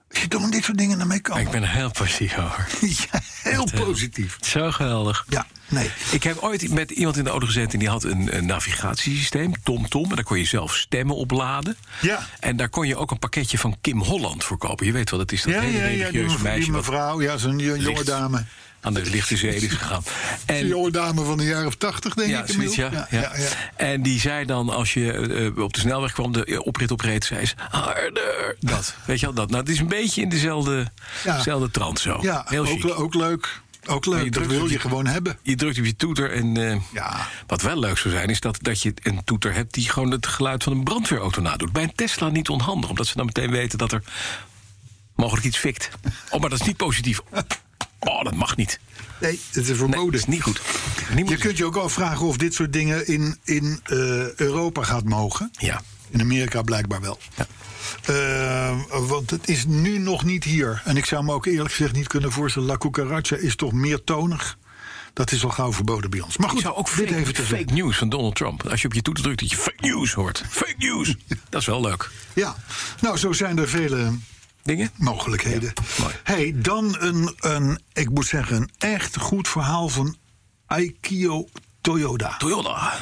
S2: Als je dan dit soort dingen ermee kan.
S3: ik ben er heel positief over.
S2: Ja, heel
S3: eh,
S2: positief.
S3: Zo geweldig.
S2: Ja, nee.
S3: Ik heb ooit met iemand in de auto gezeten en die had een, een navigatiesysteem, TomTom. En daar kon je zelf stemmen opladen.
S2: Ja.
S3: En daar kon je ook een pakketje van Kim Holland voor kopen. Je weet wel, dat is dat
S2: Ja,
S3: hele
S2: ja, ja, die,
S3: religieuze
S2: mev- die
S3: meisje wat
S2: mevrouw, ja, zo'n jo- jonge
S3: licht-
S2: dame.
S3: aan de lichte zee is gegaan.
S2: Een
S3: En
S2: jonge dame van de jaren of tachtig, denk
S3: Ja,
S2: ik. inmiddels.
S3: zoiets, ja, ja. En die zei dan, als je eh, op de snelweg kwam, de eh, oprit opreed, zei ze... Harder! Dat, weet je wel, dat. Nou, het is een beetje in dezelfde,
S2: Ja.
S3: dezelfde trant zo.
S2: Ja,
S3: Oh, Heel
S2: ook,
S3: chic.
S2: le- ook leuk. Ook
S3: Maar je
S2: leuk, dat
S3: drukt
S2: wil
S3: op
S2: je
S3: je-
S2: gewoon hebben.
S3: Je drukt op je toeter en eh,
S2: Ja.
S3: wat wel leuk zou zijn... is dat, dat je een toeter hebt die gewoon het geluid van een brandweerauto nadoet. Bij een Tesla niet onhandig, omdat ze dan meteen weten dat er mogelijk iets fikt. Oh, maar dat is niet positief. Oh, dat mag niet.
S2: Nee, het is
S3: Nee, dat
S2: verboden.
S3: is niet goed. Niet
S2: je
S3: moet-
S2: kunt je ook afvragen of dit soort dingen in, in eh, Europa gaat mogen.
S3: Ja.
S2: In Amerika blijkbaar wel.
S3: Ja.
S2: Eh, want het is nu nog niet hier. En ik zou me ook eerlijk gezegd niet kunnen voorstellen... La Cucaracha is toch meer tonig? Dat is al gauw verboden bij ons. Maar goed,
S3: Ik zou ook
S2: dit
S3: fake,
S2: even te
S3: fake news van Donald Trump. Als je op je toeter drukt dat je fake news hoort. Fake news. Dat is wel leuk.
S2: Ja, nou zo zijn er vele
S3: Dingen?
S2: mogelijkheden.
S3: Ja, mooi.
S2: hey, dan een, een, ik moet zeggen, een echt goed verhaal van Aikio Toyoda.
S3: Toyota.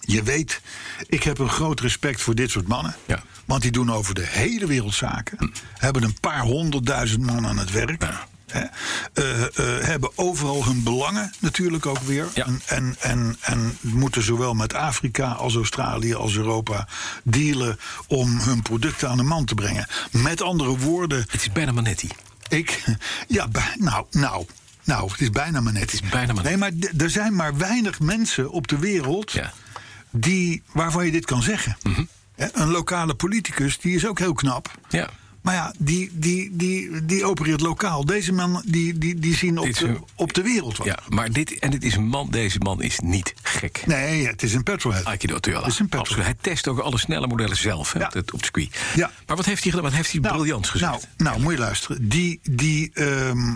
S2: Je weet, ik heb een groot respect voor dit soort mannen.
S3: Ja.
S2: Want die doen over de hele wereld zaken. Hebben een paar honderdduizend man aan het werk.
S3: Ja.
S2: hè, eh, eh, hebben overal hun belangen natuurlijk ook weer.
S3: Ja.
S2: En, en, en, en moeten zowel met Afrika als Australië als Europa dealen om hun producten aan de man te brengen. Met andere woorden,
S3: Het is bijna Manetti.
S2: ik. Ja, bij- nou, nou. Nou, het is bijna maar net. Het
S3: is bijna maar
S2: Nee, maar d- er zijn maar weinig mensen op de wereld
S3: Ja. Mhm.
S2: die, waarvan je dit kan zeggen. Hè, Een lokale politicus, die is ook heel knap.
S3: Ja.
S2: Maar ja, die, die, die, die opereert lokaal. Deze man, die, die, die zien op
S3: Dit is
S2: de,
S3: een-
S2: op de wereld wat.
S3: ja. Maar dit, en dit is een man, deze man is niet gek.
S2: Nee, het is een petrolhead.
S3: Aikido Tuella.
S2: Het is een petrol.
S3: Absoluut. Hij test ook alle snelle modellen zelf hè,
S2: Ja.
S3: op, het, op het circuit.
S2: Ja.
S3: Maar wat heeft hij gedaan? Wat heeft hij briljant gezegd?
S2: Nou, nou, moet je luisteren. Die, die, ehm,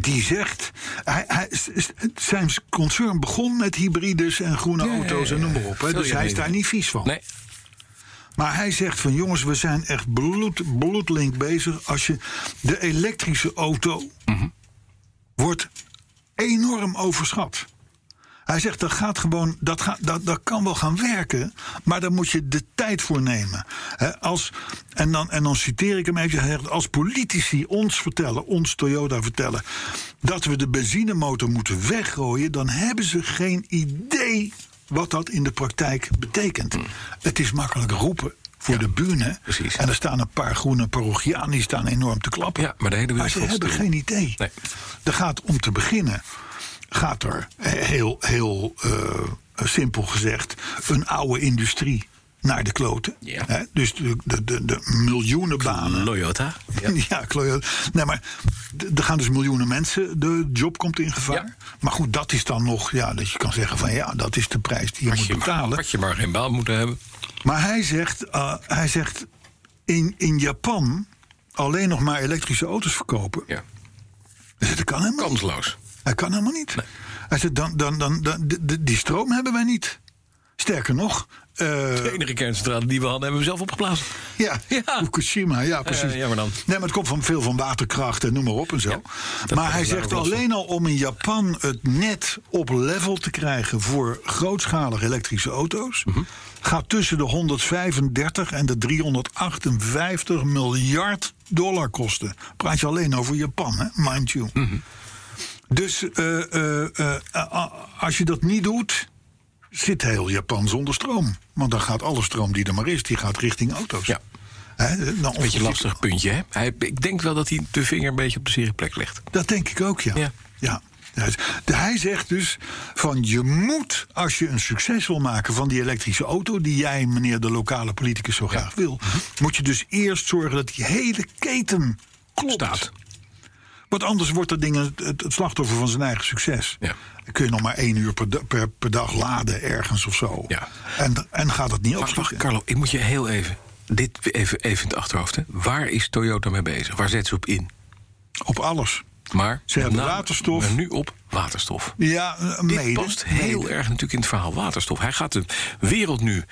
S2: die zegt. Hij, hij, s- s- zijn concern begon met hybrides en groene
S3: ja,
S2: auto's
S3: ja,
S2: en noem
S3: ja.
S2: maar op. Hè,
S3: Veel
S2: dus hij is
S3: hybride.
S2: daar niet vies van.
S3: nee.
S2: Maar hij zegt van jongens, we zijn echt bloed, bloedlink bezig. Als je de elektrische auto wordt enorm overschat. Hij zegt dat gaat gewoon, dat, gaat, dat, dat kan wel gaan werken, maar daar moet je de tijd voor nemen. Hè, als, en, dan, en dan citeer ik hem even. Hij zegt, als politici ons vertellen, ons Toyota vertellen, dat we de benzinemotor moeten weggooien, dan hebben ze geen idee wat dat in de praktijk betekent. Het is makkelijk roepen voor de bühne.
S3: Hmm. precies.
S2: En er staan een paar groene parochianen die staan enorm te klappen.
S3: Ja, maar de hele wereld
S2: ze
S3: valt
S2: hebben
S3: stil.
S2: geen idee.
S3: Nee.
S2: Er gaat om te beginnen, gaat er eh, heel, heel eh, simpel gezegd een oude industrie naar de kloten.
S3: Ja.
S2: Hè, dus de, de, de, de miljoenen banen.
S3: Loyota.
S2: Ja, klojoot. Nee, maar d- er gaan dus miljoenen mensen. De job komt in gevaar.
S3: Ja.
S2: Maar goed, dat is dan nog, ja, dat je kan zeggen van ja, dat is de prijs die je
S3: Had je,
S2: moet betalen.
S3: had je maar geen baan moeten hebben.
S2: Maar hij zegt, eh, hij zegt in, in Japan alleen nog maar elektrische auto's verkopen.
S3: Ja.
S2: Dus dat kan helemaal niet.
S3: Kansloos.
S2: Hij kan helemaal niet. Hij zegt, dan, dan, dan, dan, d- d- die stroom hebben wij niet. Sterker nog, eh,
S3: De enige kerncentrale die we hadden, hebben we zelf opgeblazen.
S2: ja,
S3: Ja.
S2: Fukushima, ja precies.
S3: ja, maar dan.
S2: Nee, maar het komt van veel van waterkracht en noem maar op en zo. maar hij
S3: daar
S2: zegt
S3: ook last van.
S2: alleen al om in Japan het net op level te krijgen voor grootschalige elektrische auto's,
S3: Mhm.
S2: gaat tussen de 135 en de 358 miljard dollar kosten. Praat je alleen over Japan, hè? mind you. Dus eh, eh, eh, a- a- als je dat niet doet, zit heel Japan zonder stroom. Want dan gaat alle stroom die er maar is, die gaat richting auto's.
S3: Ja.
S2: Hè, nou,
S3: Beetje
S2: ongeveer-
S3: lastig puntje, hè? Hij, ik denk wel dat hij de vinger een beetje op de zere plek legt.
S2: Dat denk ik ook, ja.
S3: Ja.
S2: ja. Dus Hij zegt dus van je moet, als je een succes wil maken van die elektrische auto... die jij, meneer de lokale politicus, zo graag wil...
S3: Mhm.
S2: moet je dus eerst zorgen dat die hele keten klopt.
S3: Staat.
S2: Want anders wordt dat ding het, het- het slachtoffer van zijn eigen succes.
S3: Ja.
S2: Dan kun je nog maar één uur per, da- per, per dag laden ergens of zo.
S3: Ja.
S2: En, en gaat het niet
S3: Maar wacht,
S2: opschieten.
S3: Carlo, ik moet je heel even. Dit even, even in het achterhoofd. Hè. Waar is Toyota mee bezig? Waar zet ze op in?
S2: Op alles.
S3: Maar
S2: Ze hebben
S3: met name-
S2: waterstof.
S3: Maar nu op waterstof.
S2: Ja, eh,
S3: Dit
S2: mede.
S3: past heel erg natuurlijk in het verhaal waterstof. Hij gaat de wereld nu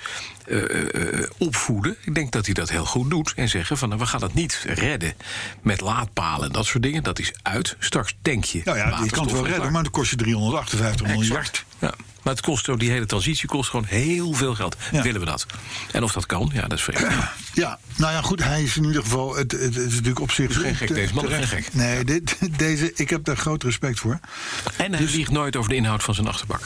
S3: eh, eh, eh, opvoeden. Ik denk dat hij dat heel goed doet. En zeggen van, nou, we gaan dat niet redden met laadpalen en dat soort dingen. Dat is uit. Straks tank je
S2: Nou ja, je
S3: waterstof
S2: kan het wel
S3: en
S2: redden,
S3: klaar.
S2: maar dan kost je 358 miljard.
S3: Ja, maar het kost ook, die hele transitie kost gewoon heel veel geld.
S2: Ja.
S3: Willen we dat? En of dat kan, ja, dat is vreemd.
S2: Ja, nou ja, goed, hij is in ieder geval. Het, het, het is natuurlijk op zich.
S3: geen gek,
S2: te-
S3: deze man is
S2: terecht.
S3: geen gek.
S2: Nee, dit, deze, ik heb daar groot respect voor.
S3: En
S2: Dus-
S3: hij liegt nooit over de inhoud van zijn achterbak.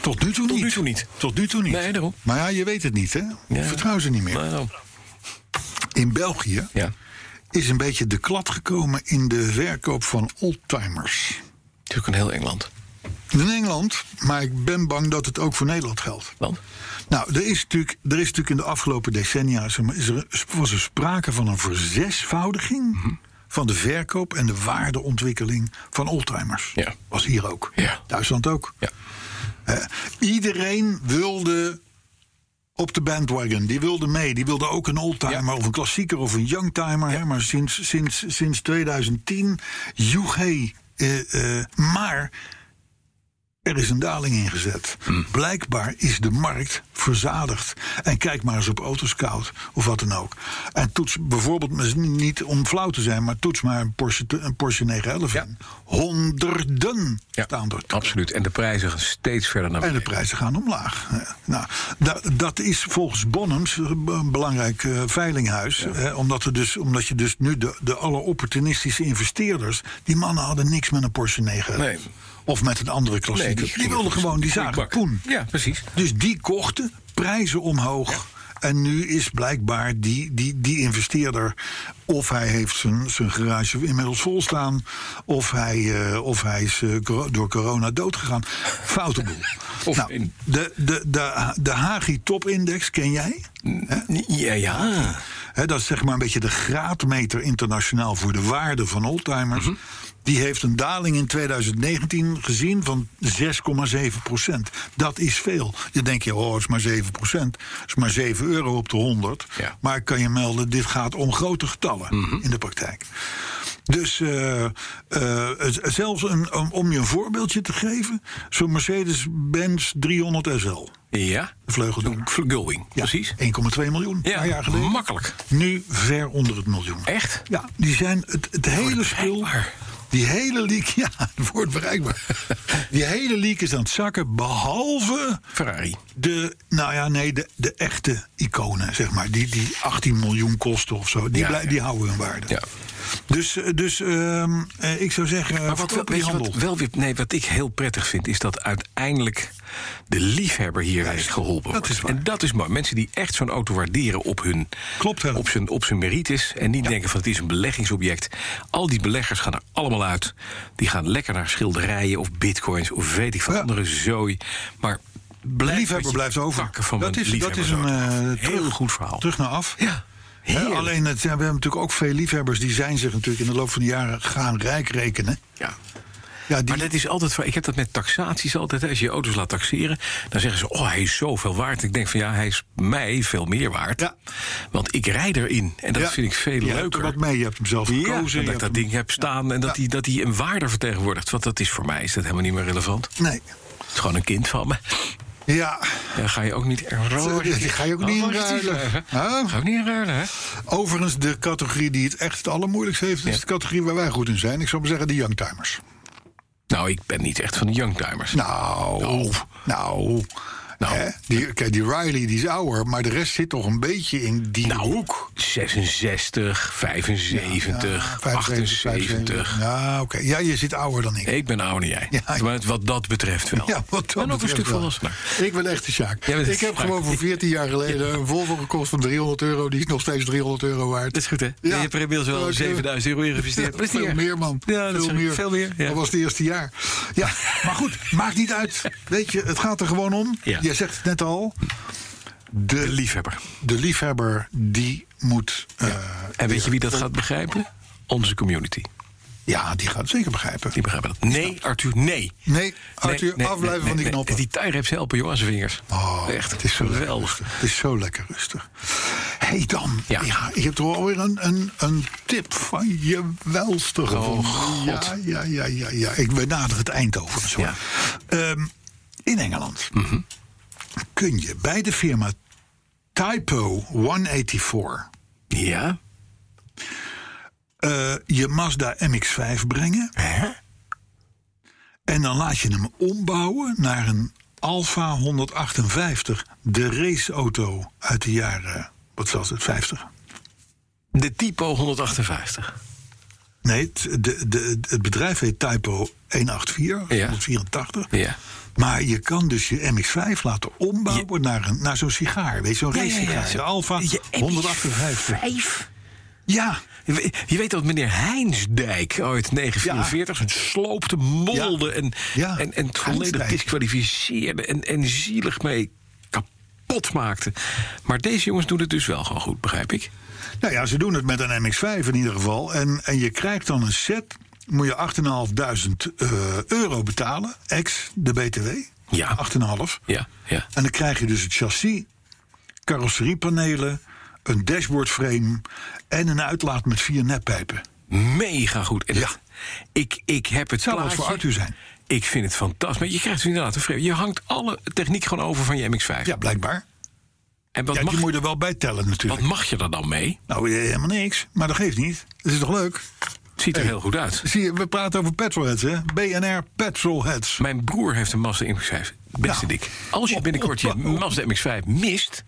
S2: Tot nu toe
S3: Tot
S2: niet.
S3: nu toe niet.
S2: Tot nu toe niet.
S3: Nee, daarom.
S2: Maar ja, je weet het niet, hè?
S3: Ja.
S2: Vertrouw ze niet meer.
S3: Nou, nou,
S2: In België
S3: ja.
S2: is een beetje de klad gekomen in de verkoop van oldtimers.
S3: Natuurlijk een heel Engeland.
S2: In Engeland, maar ik ben bang dat het ook voor Nederland geldt.
S3: Want?
S2: Nou, er is natuurlijk, er is natuurlijk in de afgelopen decennia is er- is er, was er sprake van een verzesvoudiging
S3: Mhm.
S2: van de verkoop en de waardeontwikkeling van oldtimers.
S3: Ja.
S2: Was hier ook.
S3: Ja.
S2: Duitsland ook.
S3: Ja.
S2: Eh, iedereen wilde op de bandwagon. Die wilde mee. Die wilde ook een oldtimer
S3: Ja.
S2: of een klassieker of een youngtimer. hè. Maar sinds, sinds, sinds 2010 joeg hij. eh, eh, maar Er is een daling ingezet.
S3: Hmm.
S2: Blijkbaar is de markt verzadigd. En kijk maar eens op Autoscout of wat dan ook. En toets bijvoorbeeld, maar is niet om flauw te zijn, maar toets maar een Porsche, een Porsche 911
S3: Ja.
S2: in. Honderden
S3: Ja,
S2: staan er.
S3: absoluut. En de prijzen gaan steeds verder naar
S2: En de
S3: beneden.
S2: prijzen gaan omlaag. Ja. Nou, da- dat is volgens Bonhams een belangrijk eh, veilinghuis. Hè, omdat, er dus, omdat je dus nu de, de alleropportunistische investeerders... die mannen hadden niks met een Porsche 9.
S3: Nee.
S2: Of met een andere klassieker. die,
S3: gingen
S2: wilden
S3: voor-
S2: gewoon, die
S3: voor
S2: zagen
S3: bak.
S2: poen.
S3: Ja, precies.
S2: Dus die kochten prijzen omhoog. En nu is blijkbaar die, die, die investeerder. Of hij heeft zijn, zijn garage inmiddels vol staan. Of hij, eh, of hij is eh, coro- door corona doodgegaan. Foute boel.
S3: Of
S2: nou,
S3: in-
S2: de, de, de, de Hagi Top Index ken jij?
S3: Ja, ja.
S2: Hè, dat is zeg maar een beetje de graadmeter internationaal voor de waarde van oldtimers.
S3: Mhm.
S2: Die heeft een daling in 2019 gezien van 6,7 procent. Dat is veel. Je denkt, je, oh, het is maar 7 procent. Het is maar 7 euro op de 100.
S3: Ja. Mhm.
S2: Maar ik kan je melden, dit gaat om grote getallen in de praktijk. Dus eh, eh, het- zelfs een, om- om je een voorbeeldje te geven... zo'n Mercedes-Benz 300 SL,
S3: Ja.
S2: de vleugeldoek.
S3: Going,
S2: Ja,
S3: precies.
S2: 1,2 miljoen, een paar jaar geleden.
S3: makkelijk.
S2: Nu ver onder het miljoen.
S3: Echt?
S2: Ja, die zijn het, het hele spul.
S3: bereikbaar.
S2: Die hele leak, ja, het wordt bereikbaar. Die hele leak is aan het zakken, behalve
S3: Ferrari.
S2: de, nou ja, nee, de, de echte iconen, zeg maar. Die, die 18 miljoen kosten of zo, die,
S3: Ja,
S2: blij-
S3: ja.
S2: die houden hun waarde.
S3: Ja.
S2: Dus, eh, dus ehm, eh, ik zou zeggen,
S3: Maar wat,
S2: verkoop
S3: wel-
S2: die
S3: weet je
S2: handel.
S3: wat, wel weer, nee, wat ik heel prettig vind, is dat uiteindelijk de liefhebber hierbij geholpen
S2: dat
S3: wordt.
S2: is waar.
S3: En dat is mooi. Mensen die echt zo'n auto waarderen op hun,
S2: Klopt, Helen.
S3: op zijn, op zijn merites. En niet denken van het is een beleggingsobject. Al die beleggers gaan er allemaal uit. Die gaan lekker naar schilderijen of bitcoins of weet ik van
S2: Ja.
S3: andere zooi. Maar
S2: De
S3: blijf
S2: liefhebber blijft over.
S3: Van
S2: dat
S3: een
S2: is, dat is een
S3: liefhebbersauto.
S2: eh,
S3: heel
S2: terug-
S3: goed verhaal.
S2: Terug naar af.
S3: Ja,
S2: Hè,
S3: heerlijk.
S2: alleen, het, ja, we hebben natuurlijk ook veel liefhebbers... die zijn zich natuurlijk in de loop van de jaren gaan rijk rekenen.
S3: ja.
S2: Ja, die,
S3: Maar dat is altijd. waar- Ik heb dat met taxaties altijd. hè. Als je je auto's laat taxeren, dan zeggen ze: Oh, hij is zoveel waard. Ik denk van ja, hij is mij veel meer waard.
S2: Ja.
S3: Want ik rijd erin. En dat
S2: Ja.
S3: vind ik veel
S2: je hebt er
S3: leuker.
S2: wat mee, je hebt hem zelf
S3: Ja,
S2: gekozen.
S3: en
S2: je
S3: dat ik
S2: hebt
S3: dat
S2: hem-
S3: ding heb staan en dat hij dat die een waarde vertegenwoordigt. Want dat is voor mij is dat helemaal niet meer relevant.
S2: Nee.
S3: Het is gewoon een kind van me.
S2: Ja,
S3: Daar ga je ook niet
S2: die ga je ook niet in ruilen. Huh?
S3: Ga ook niet in ruilen, hè?
S2: Overigens, de categorie die het echt het allermoeilijkst heeft... is de categorie waar wij goed in zijn. Ik zou maar zeggen de youngtimers.
S3: Nou, ik ben niet echt van de youngtimers.
S2: Nou, nou... nou.
S3: Nou.
S2: hè? Die, kijk, die Riley die is ouder, maar de rest zit toch een beetje in die
S3: Nou,
S2: hoek.
S3: 66, 75,
S2: 75,
S3: 78.
S2: Ja, oké. Ja, je zit ouder dan ik.
S3: Ik ben ouder dan jij.
S2: Ja, ik-
S3: Maar het- wat dat betreft wel.
S2: Ja, wat dat
S3: en ook een
S2: betreft
S3: stuk
S2: wel.
S3: volwassener.
S2: Ik ben echt de Sjaak.
S3: Jij bent
S2: Ik
S3: de
S2: heb
S3: Sjaak.
S2: gewoon voor 14 jaar geleden een Volvo gekocht van 300 euro. Die is nog steeds 300 euro waard.
S3: Dat is goed, hè? Je hebt er inmiddels wel
S2: Ja, ik, eh,
S3: 7000 euro in geïnvesteerd.
S2: ja,
S3: Dat is niet
S2: veel
S3: erg.
S2: meer, man.
S3: Ja, dat
S2: veel
S3: is
S2: meer.
S3: veel meer. Ja.
S2: Dat was het eerste jaar. Ja, maar goed, maakt niet uit. Weet je, het gaat er gewoon om.
S3: Ja.
S2: Jij zegt het net al. De,
S3: De liefhebber.
S2: de liefhebber, die moet... eh,
S3: En weet je wie dat gaat begrijpen? Onze community.
S2: ja, die gaat het zeker begrijpen.
S3: Die begrijpen dat. Nee, Arthur, nee.
S2: Nee, Arthur,
S3: Nee, nee,
S2: afblijven
S3: nee,
S2: van die
S3: nee,
S2: knoppen.
S3: Nee. Die tijreps helpen, joh, aan zijn vingers.
S2: Oh,
S3: Echt,
S2: het is zo geweldig.
S3: geweldig.
S2: Het is zo lekker rustig. Hé hey dan, ja.
S3: Ja.
S2: ik heb toch alweer een, een, een tip van je welste gevonden. Ja, ja, ja, ja, ja. Ik benader het eind overigens. hoor.
S3: Ja.
S2: Ehm, in Engeland kun je bij de firma Typo 184
S3: Ja?
S2: eh, je Mazda MX-5 brengen. En dan laat je hem ombouwen naar een Alfa 158. De raceauto uit de jaren, wat was het, 50?
S3: De Typo 158.
S2: Nee, het, de, de, het bedrijf heet Typo 184,
S3: Ja.
S2: 184.
S3: Ja.
S2: Maar je kan dus je MX-5 laten ombouwen naar, een, naar zo'n sigaar. Weet je, zo'n
S3: Ja, ja, ja,
S2: racesigaar.
S3: zo-
S2: De Alfa
S3: Je
S2: 158.
S3: Vijf?
S2: Ja,
S3: Je we- je weet dat meneer Heinsdijk ooit 1944 een sloopte, molde
S2: Ja.
S3: en,
S2: Ja.
S3: en, en het volledig
S2: Heinsdijk.
S3: disqualificeerde en, en zielig mee kapot maakte. Maar deze jongens doen het dus wel gewoon goed, begrijp ik.
S2: Nou ja, ze doen het met een MX-5 in ieder geval. En, en je krijgt dan een set, moet je 8.500 eh, euro betalen, ex de BTW.
S3: Ja.
S2: 8,5.
S3: Ja, ja.
S2: En dan krijg je dus het chassis, carrosseriepanelen, een dashboardframe en een uitlaat met vier neppijpen.
S3: Mega goed. En
S2: Ja.
S3: het- ik, ik heb het
S2: Zou wat
S3: plaatje.
S2: voor Arthur zijn?
S3: Ik vind het fantastisch. Maar je krijgt dus inderdaad een vreemde. Je hangt alle techniek gewoon over van je MX-5.
S2: Ja, blijkbaar.
S3: En wat,
S2: ja,
S3: mag,
S2: die moet je er wel bij tellen
S3: wat
S2: natuurlijk.
S3: mag je er dan mee?
S2: Nou, eh, helemaal niks. Maar dat geeft niet. Dat is toch leuk?
S3: Het ziet er heel goed uit.
S2: Zie je, we praten over petrolheads, hè? BNR petrolheads.
S3: Mijn broer heeft een Mazda MX-5.
S2: Nou.
S3: Beste dik. Als je binnenkort je Mazda MX-5 mist...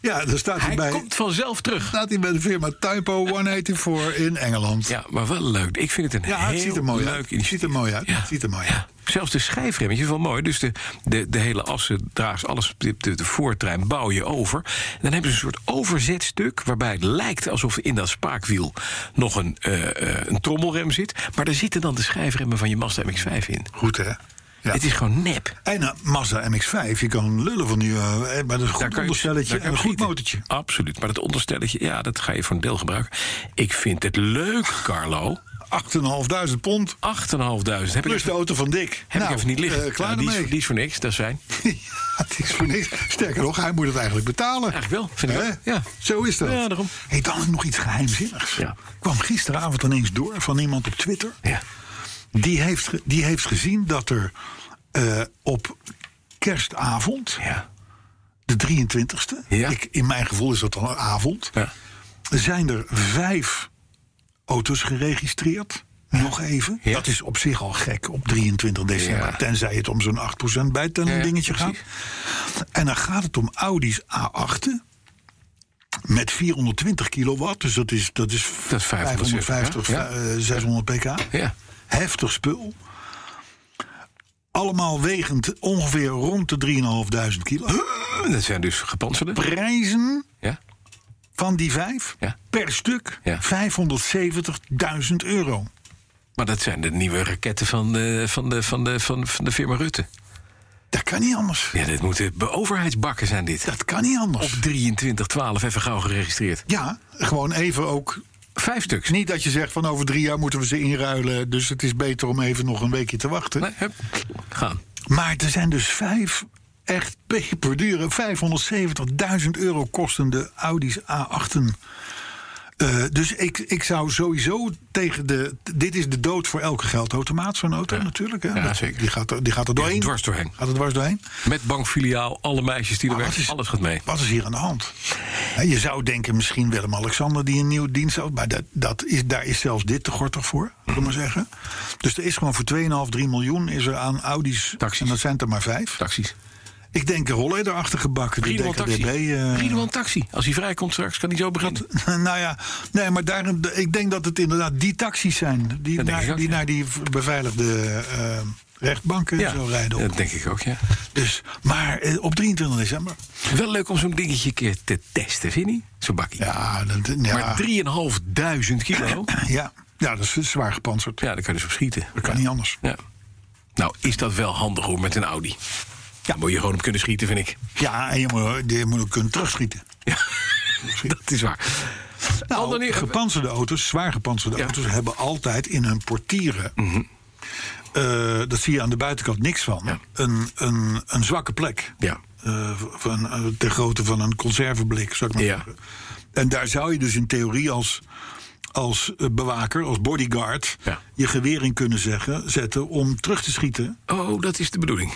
S2: Ja, daar staat hij
S3: Hij
S2: bij.
S3: komt vanzelf terug.
S2: Staat hij bij de firma Typo 184 in Engeland.
S3: Ja, maar wel leuk. Ik vind het een
S2: Ja,
S3: heel
S2: het ziet er mooi
S3: leuk
S2: uit.
S3: initiatief.
S2: Ziet er mooi uit.
S3: Ja.
S2: Ziet er mooi uit.
S3: Ja. Zelfs de schijfremmetjes wel mooi. Dus de, de, de hele assen, draagst, alles, de, de, de voortrein bouw je over. En dan hebben ze een soort overzetstuk... waarbij het lijkt alsof in dat spaakwiel nog een, eh, eh, een trommelrem zit. Maar daar zitten dan de schijfremmen van je Mazda MX-5 in.
S2: Goed, hè? Ja.
S3: Het is gewoon nep.
S2: En een Mazda MX-5, je kan lullen van die... eh, maar dat is een
S3: Daar
S2: goed
S3: kan je- dus-
S2: onderstelletje
S3: daar
S2: en een
S3: kan je
S2: goed
S3: schieten.
S2: motortje.
S3: Absoluut. Maar dat onderstelletje, ja, dat ga je voor een deel gebruiken. Ik vind het leuk, Carlo.
S2: 8.500 pond,
S3: 8.500. Heb
S2: plus
S3: ik
S2: de
S3: even,
S2: auto van Dick.
S3: heb ik even niet liggen.
S2: eh, klaar
S3: Ja, die, is,
S2: ermee.
S3: die is voor niks, dat is fijn.
S2: Het is voor niks. Sterker nog, hij moet het eigenlijk betalen.
S3: Eigenlijk wel, vind ik
S2: Hè?
S3: wel, ja.
S2: Zo is dat.
S3: Ja, daarom.
S2: Hey, dan nog iets geheimzinnigs.
S3: Ja.
S2: kwam gisteravond ineens door van iemand op Twitter.
S3: Ja.
S2: Die heeft, ge- die heeft gezien dat er eh, op kerstavond,
S3: Ja.
S2: de 23e...
S3: Ja.
S2: Ik, in mijn gevoel is dat dan een avond...
S3: ja.
S2: zijn er vijf auto's geregistreerd. Nog even.
S3: Ja.
S2: Dat is op zich al gek op 23 december.
S3: Ja.
S2: Tenzij het om zo'n 8% bijtellen
S3: Ja, ja,
S2: dingetje gaat. En dan gaat het om Audi's A8 met 420 kilowatt. Dus dat is, dat is,
S3: Dat is 550,
S2: 550,
S3: ja.
S2: eh, 600 pk.
S3: Ja.
S2: Heftig spul. Allemaal wegend ongeveer rond de 3.500 kilo.
S3: Dat zijn dus gepantserde.
S2: Prijzen
S3: Ja.
S2: van die vijf
S3: Ja.
S2: per stuk
S3: Ja.
S2: 570.000 euro.
S3: Maar dat zijn de nieuwe raketten van de, van de, van de, van, van de firma Rutte.
S2: Dat kan niet anders.
S3: Ja, dit moeten be- overheidsbakken zijn dit.
S2: Dat kan niet
S3: Op
S2: anders.
S3: 2312 even gauw geregistreerd.
S2: Ja, gewoon even ook.
S3: Vijf stuks.
S2: Niet dat je zegt van over drie jaar moeten we ze inruilen. Dus het is beter om even nog een weekje te wachten.
S3: Nee, hup. Gaan.
S2: Maar er zijn dus vijf echt peperdure, 570.000 euro kostende Audi's A8. Eh, dus ik, ik zou sowieso tegen de. Dit is de dood voor elke geldautomaat, zo'n auto natuurlijk. Hè?
S3: Ja,
S2: Dat-
S3: zeker.
S2: Die gaat, er- die gaat er doorheen.
S3: dwars doorheen.
S2: Gaat er dwars doorheen.
S3: Met bankfiliaal, alle meisjes die er
S2: Maar Ah, wat
S3: werken,
S2: is-
S3: alles gaat mee.
S2: Wat is hier aan de hand? Hè, Je zou denken, misschien Willem-Alexander die een nieuwe dienst had. Maar dat, dat is, daar is zelfs dit te gortig voor, zullen we maar zeggen. Dus er is gewoon voor 2,5, 3 miljoen is er aan Audi's.
S3: Taxis.
S2: En dat zijn er maar vijf.
S3: Taxis.
S2: Ik denk Rolle erachter gebakken. Die
S3: Riedeman
S2: DKDB.
S3: Taxi.
S2: eh,
S3: Riedeman Taxi. Als hij vrijkomt straks, kan hij zo beginnen.
S2: nou ja, nee, maar daarom, ik denk dat het inderdaad die taxis zijn. Die,
S3: Dat denk
S2: naar,
S3: ik ook,
S2: die,
S3: ja.
S2: naar die v- beveiligde eh, rechtbanken en zo rijden.
S3: dat denk ik ook, ja.
S2: Dus, maar eh, op 23 december.
S3: Wel leuk om zo'n dingetje een keer te testen, vind je niet? Zo'n bakkie.
S2: Ja, dat, eh, ja,
S3: Maar 3.500 kilo?
S2: ja, ja, dat is zwaar gepantserd.
S3: Ja, daar kan je dus op schieten.
S2: Dat kan niet anders.
S3: Ja. Nou, is dat wel handig hoor, met een Audi. Ja, daar moet je gewoon op kunnen schieten, vind ik.
S2: Ja, en je moet, je moet ook kunnen terugschieten.
S3: Ja, dat is waar. Ander
S2: Nou,
S3: nieuw-
S2: gepantserde auto's, zwaar gepantserde
S3: Ja. Mhm.
S2: auto's... hebben altijd in hun portieren... eh, dat zie je aan de buitenkant niks van.
S3: Ja.
S2: Een, een, een zwakke plek.
S3: Ja.
S2: Eh, van, eh, ter grootte van een conserveblik, zou ik maar
S3: Ja.
S2: zeggen. En daar zou je dus in theorie als, als eh, bewaker, als bodyguard...
S3: Ja.
S2: je geweer in kunnen zeggen, zetten om terug te schieten.
S3: Oh, dat is de bedoeling.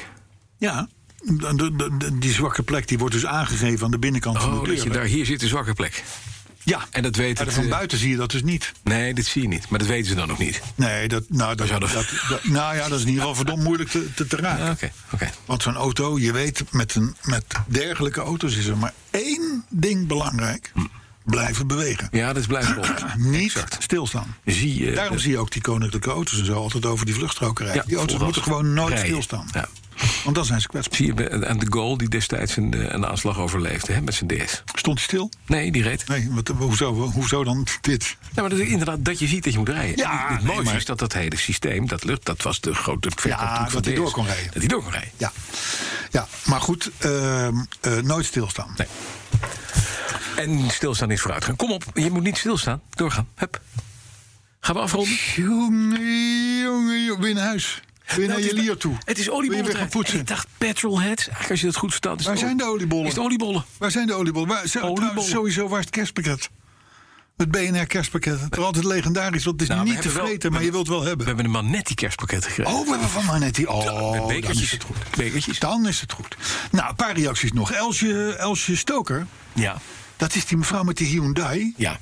S2: Ja, de- de- de- die zwakke plek die wordt dus aangegeven aan de binnenkant van de
S3: Oh,
S2: deur.
S3: dat je daar, hier zit een zwakke plek.
S2: Ja,
S3: En dat weet
S2: maar
S3: het,
S2: van
S3: eh,
S2: buiten zie je dat dus niet.
S3: Nee, dit zie je niet. Maar dat weten ze dan nog niet.
S2: Nee, dat, nou, dat,
S3: zouden-
S2: dat, dat- nou ja, dat is in ieder geval verdomd moeilijk te, te, te raken.
S3: Ah, Oké, oké.
S2: Want zo'n auto, je weet, met, een, met dergelijke auto's is er maar één ding belangrijk. Blijven bewegen.
S3: Hm. Ja, dat is blijkbaar.
S2: Niet stilstaan.
S3: Zie je...
S2: Daarom zie je ook die koninklijke auto's en zo altijd over die vluchtstroken rijden.
S3: Ja,
S2: die auto's
S3: volgens-
S2: moeten gewoon nooit
S3: rijden.
S2: stilstaan.
S3: Ja.
S2: Want dan zijn ze kwetsbaar.
S3: Zie je bij- aan de goal die destijds een, eh, een aanslag overleefde hè, met zijn DS.
S2: Stond hij stil?
S3: Nee, die reed.
S2: Nee, wat, hoezo, hoezo dan dit?
S3: Nou, maar dat, inderdaad, dat je ziet dat je moet rijden.
S2: Ja,
S3: En het
S2: nee,
S3: mooiste
S2: maar-
S3: is dat dat hele systeem, dat lucht, dat was de grote
S2: Ja,
S3: verkooptoet van
S2: dat hij
S3: DS.
S2: door kon rijden.
S3: Dat hij door kon rijden.
S2: Ja, ja maar goed, ehm, eh, nooit stilstaan.
S3: Nee. En stilstaan is vooruitgang. Kom op, je moet niet stilstaan. Doorgaan. Hup. Gaan we afronden?
S2: Jongen, jongen, jongen, weer naar huis. Weer naar
S3: Nou,
S2: je
S3: het is-
S2: lier toe.
S3: Het is
S2: Wil je weer gaan
S3: oliebollen.
S2: poetsen?
S3: Ik dacht petrolheads. Eigenlijk als je dat goed verstaat. is
S2: Waar
S3: het
S2: zijn de oliebollen?
S3: Is het oliebollen?
S2: Waar zijn de oliebollen? Waar, zijn,
S3: Oliebollen.
S2: trouwens, sowieso, waar is het kerstpakket? Het BNR kerstpakket. Het is altijd legendarisch, want het is
S3: Nou, we
S2: niet te
S3: hebben wel-
S2: vreten, maar je wilt wel
S3: We
S2: hebben.
S3: hebben een Manetti kerstpakket gekregen.
S2: Oh, we hebben van Manetti. Oh,
S3: Met
S2: dan
S3: bekertjes.
S2: is het goed.
S3: Bekertjes.
S2: Dan is het goed. Nou, een paar reacties nog. Elsje, Elsje Stoker,
S3: Ja.
S2: dat is die mevrouw met die Hyundai.
S3: Ja.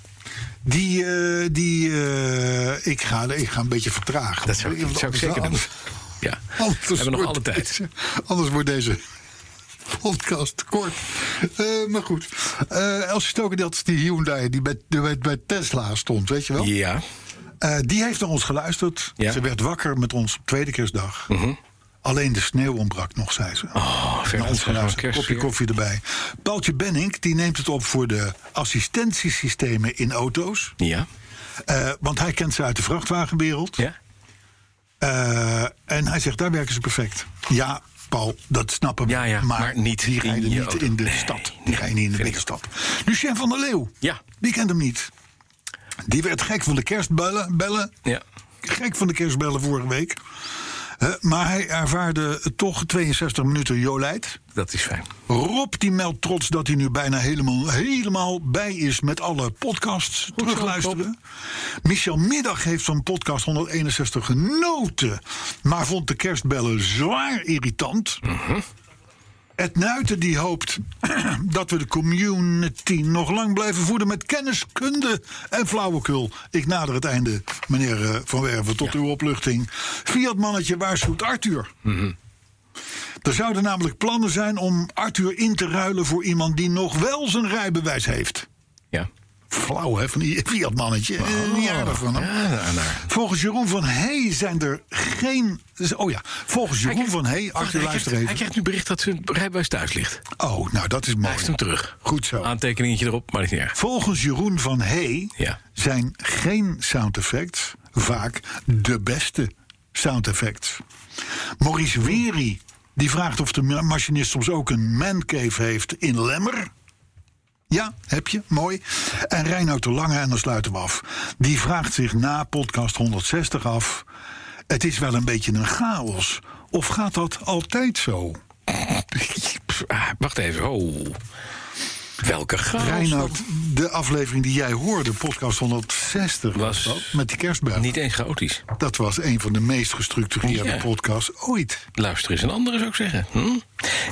S2: Die, eh, die eh, ik, ga, ik ga een beetje vertragen.
S3: Dat zou, ik- dat zou ik zeker doen.
S2: Anders-
S3: Ja.
S2: Anders
S3: We hebben nog
S2: wordt
S3: alle tijd.
S2: deze- anders wordt deze podcast kort. Eh, maar goed. Eh Elsie Stoker, dat is die Hyundai die bij, die bij, bij Tesla stond, weet je wel?
S3: Ja. Oh,
S2: Eh, die heeft naar ons geluisterd.
S3: Ja. Mhm.
S2: Ze werd wakker met ons op tweede kerstdag. Alleen de sneeuw ontbrak nog, zei ze.
S3: Oh,
S2: Naar
S3: verder
S2: ons geluisterd. Nou, Kopje koffie erbij. Paultje Benink die neemt het op voor de assistentiesystemen in auto's.
S3: Ja.
S2: Eh, want hij kent ze uit de vrachtwagenwereld.
S3: Ja.
S2: Eh, en hij zegt, daar werken ze perfect. Ja, Paul, dat snappen we.
S3: Ja, ja,
S2: maar,
S3: maar niet
S2: die
S3: in
S2: rijden
S3: je
S2: niet
S3: auto.
S2: in de
S3: Nee,
S2: stad. Die
S3: nee,
S2: rijden niet in
S3: vind
S2: de
S3: ik
S2: binnenstad. Lucien van der Leeuw.
S3: Ja.
S2: Die kent hem niet. Die werd gek van de kerstbellen. Bellen,
S3: Ja.
S2: Gek van de kerstbellen vorige week. Eh, maar hij ervaarde toch 62 minuten Jolijt.
S3: Dat is fijn.
S2: Rob die meldt trots dat hij nu bijna helemaal, helemaal bij is met alle podcasts. terugluisteren. Michel Middag heeft van podcast 161 genoten. Maar vond de kerstbellen zwaar irritant. Ed Nuiten die hoopt dat we de community nog lang blijven voeden met kennis, kunde en flauwekul. Ik nader het einde, meneer eh, Van Werven, tot uw opluchting. Fiat mannetje waarschuwt Arthur. Er zouden namelijk plannen zijn om Arthur in te ruilen voor iemand die nog wel zijn rijbewijs heeft.
S3: Ja.
S2: Flauw, hè, van die Fiat-mannetje. Eh,
S3: Oh.
S2: Niet aardig van hem.
S3: Ja, daar- daar.
S2: Volgens Jeroen van Hey zijn er geen... Oh ja, volgens
S3: Hij
S2: Jeroen
S3: krijgt-
S2: van Hey...
S3: Wacht,
S2: Arthur,
S3: hij
S2: luister
S3: krijgt- Hij
S2: even.
S3: krijgt nu bericht dat zijn rijbewijs thuis ligt.
S2: Oh, nou, dat is
S3: Hij
S2: mooi.
S3: heeft hem terug.
S2: Goed zo.
S3: Aantekeningetje erop, maar dat is niet erg.
S2: Volgens Jeroen van Hey
S3: Ja.
S2: zijn geen sound effects vaak de beste sound effects. Maurice Wery die vraagt of de ma- machinist soms ook een mancave heeft in Lemmer. Ja, heb je, mooi. En Reinoud de Lange, en dan sluiten we af. Die vraagt zich na podcast 160 af... het is wel een beetje een chaos. Of gaat dat altijd zo?
S3: Ah, wacht even. Oh. Welke chaos.
S2: Reinoud, de aflevering die jij hoorde, podcast 160, was,
S3: Was
S2: dat, met die kerstbel.
S3: Niet eens chaotisch.
S2: Dat was een van de meest gestructureerde
S3: Ja.
S2: podcasts ooit.
S3: Luister eens een andere, zou ik zeggen. Hm?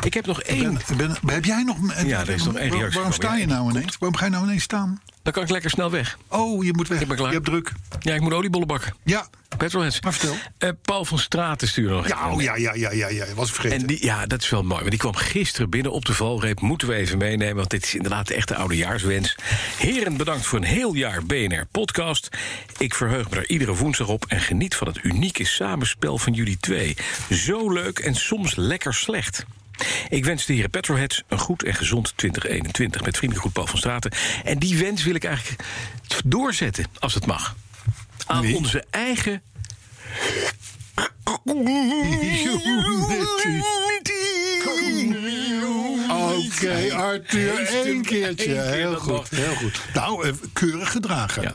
S3: Ik heb nog één.
S2: Ben, ben- heb jij nog...
S3: Ja, er is nog één
S2: Waar-
S3: reactie
S2: Waarom
S3: van
S2: sta je
S3: mij.
S2: nou ineens? Waarom ga je nou ineens staan?
S3: Dan kan ik lekker snel weg.
S2: Oh, je moet weg.
S3: Ik ben klaar.
S2: Je hebt druk.
S3: Ja, ik moet oliebollen bakken.
S2: Ja.
S3: Petrolheads.
S2: Maar vertel.
S3: Eh, Paul van Straten stuurde nog
S2: Ja,
S3: even.
S2: oh, ja, ja, ja, ja, ja. Was vergeten.
S3: En die, ja, dat is wel mooi. Want die kwam gisteren binnen op de valreep. Moeten we even meenemen, want dit is inderdaad de echte oudejaarswens. Heren, bedankt voor een heel jaar BNR-podcast. Ik verheug me er iedere woensdag op en geniet van het unieke samenspel van jullie twee. Zo leuk en soms lekker slecht. Ik wens de heren Petroheads een goed en gezond 2021. Met vriendelijk groet Paul van Straten. En die wens wil ik eigenlijk doorzetten, als het mag. Aan onze eigen
S2: Oké, Arthur,
S3: Heeft hem
S2: één keertje.
S3: één keer,
S2: heel
S3: dat
S2: goed,
S3: mag.
S2: heel goed. Nou, eh, keurig gedragen.
S3: Ja.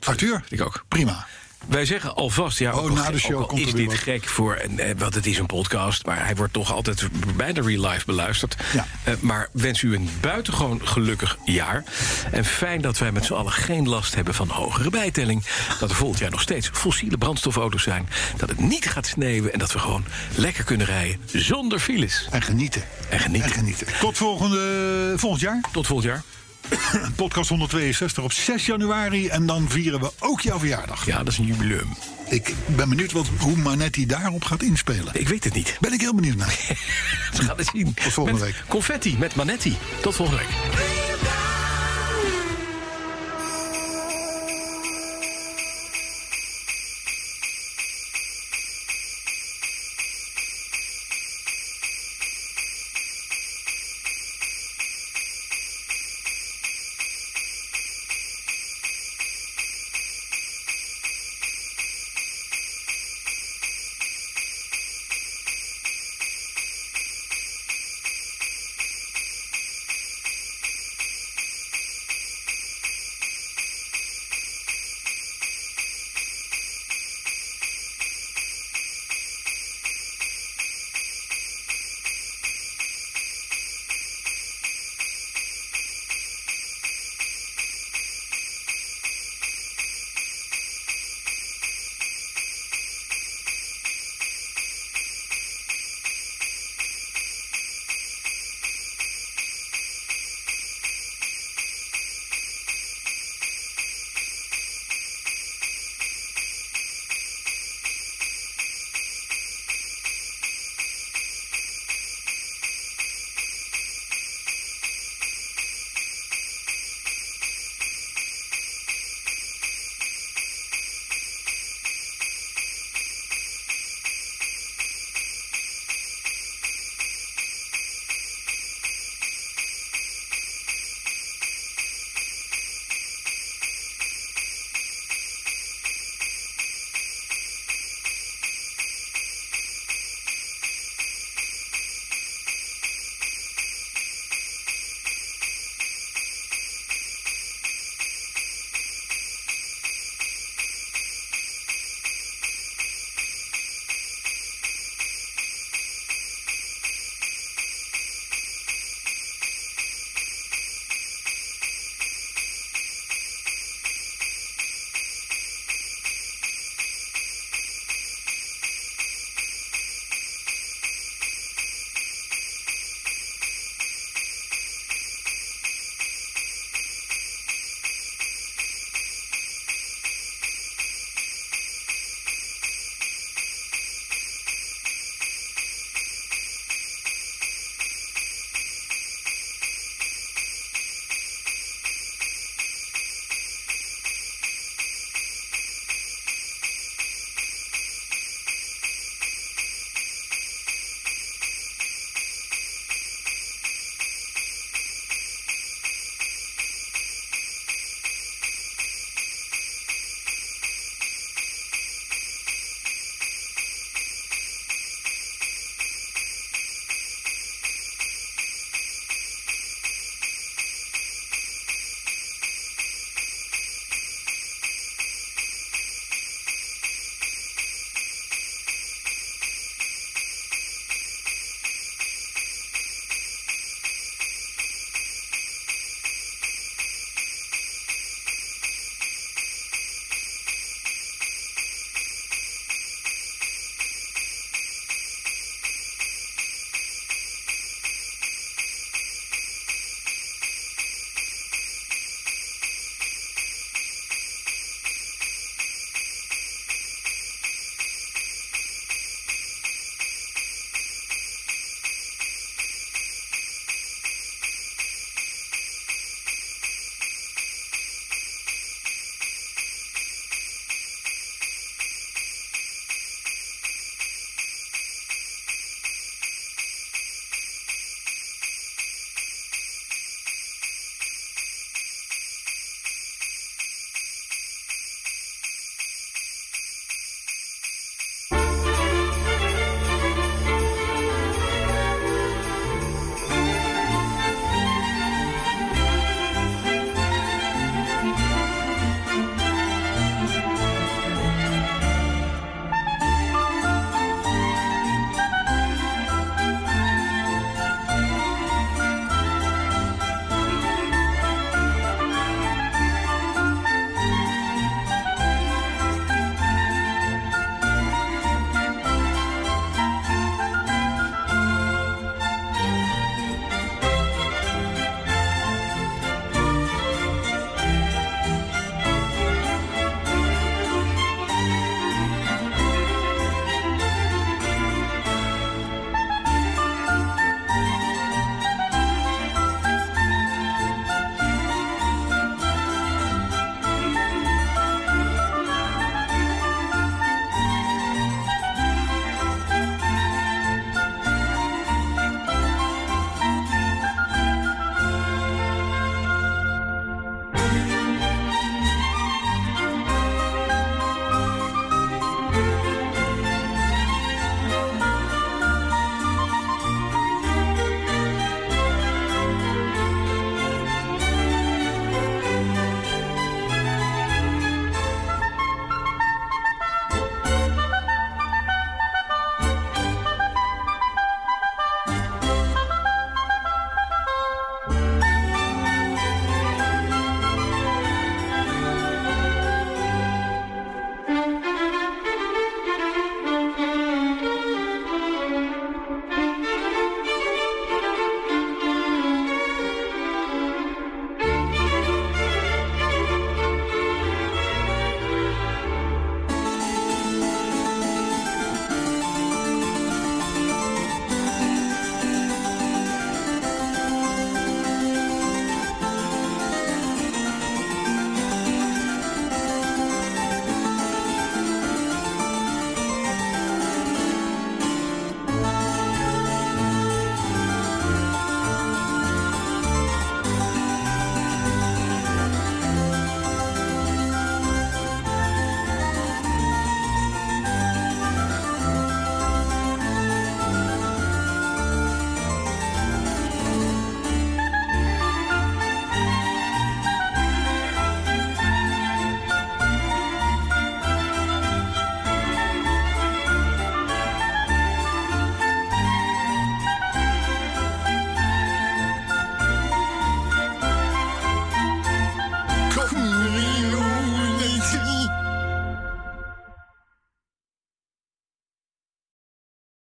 S2: Arthur,
S3: Ik ook.
S2: prima.
S3: Wij zeggen alvast, ja,
S2: Oh,
S3: ook al
S2: na
S3: gek-
S2: de show
S3: ook al
S2: komt er
S3: is
S2: weer
S3: dit
S2: wat.
S3: gek voor, en, eh, want het is een podcast... maar hij wordt toch altijd bijna real life beluisterd.
S2: Ja.
S3: Eh, maar wens u een buitengewoon gelukkig jaar. En fijn dat wij met z'n allen geen last hebben van hogere bijtelling. Dat er volgend jaar nog steeds fossiele brandstofauto's zijn. Dat het niet gaat sneeuwen en dat we gewoon lekker kunnen rijden zonder files.
S2: En genieten.
S3: En genieten.
S2: En genieten. Tot volgende, volgend jaar.
S3: Tot volgend jaar.
S2: Podcast 162 op 6 januari. En dan vieren we ook jouw verjaardag.
S3: Ja, dat is een jubileum.
S2: Ik ben benieuwd wat, hoe Manetti daarop gaat inspelen.
S3: Ik weet het niet.
S2: Ben ik heel benieuwd naar.
S3: We gaan het zien.
S2: Tot volgende
S3: Met
S2: week.
S3: Confetti met Manetti. Tot volgende week.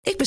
S5: Ik ben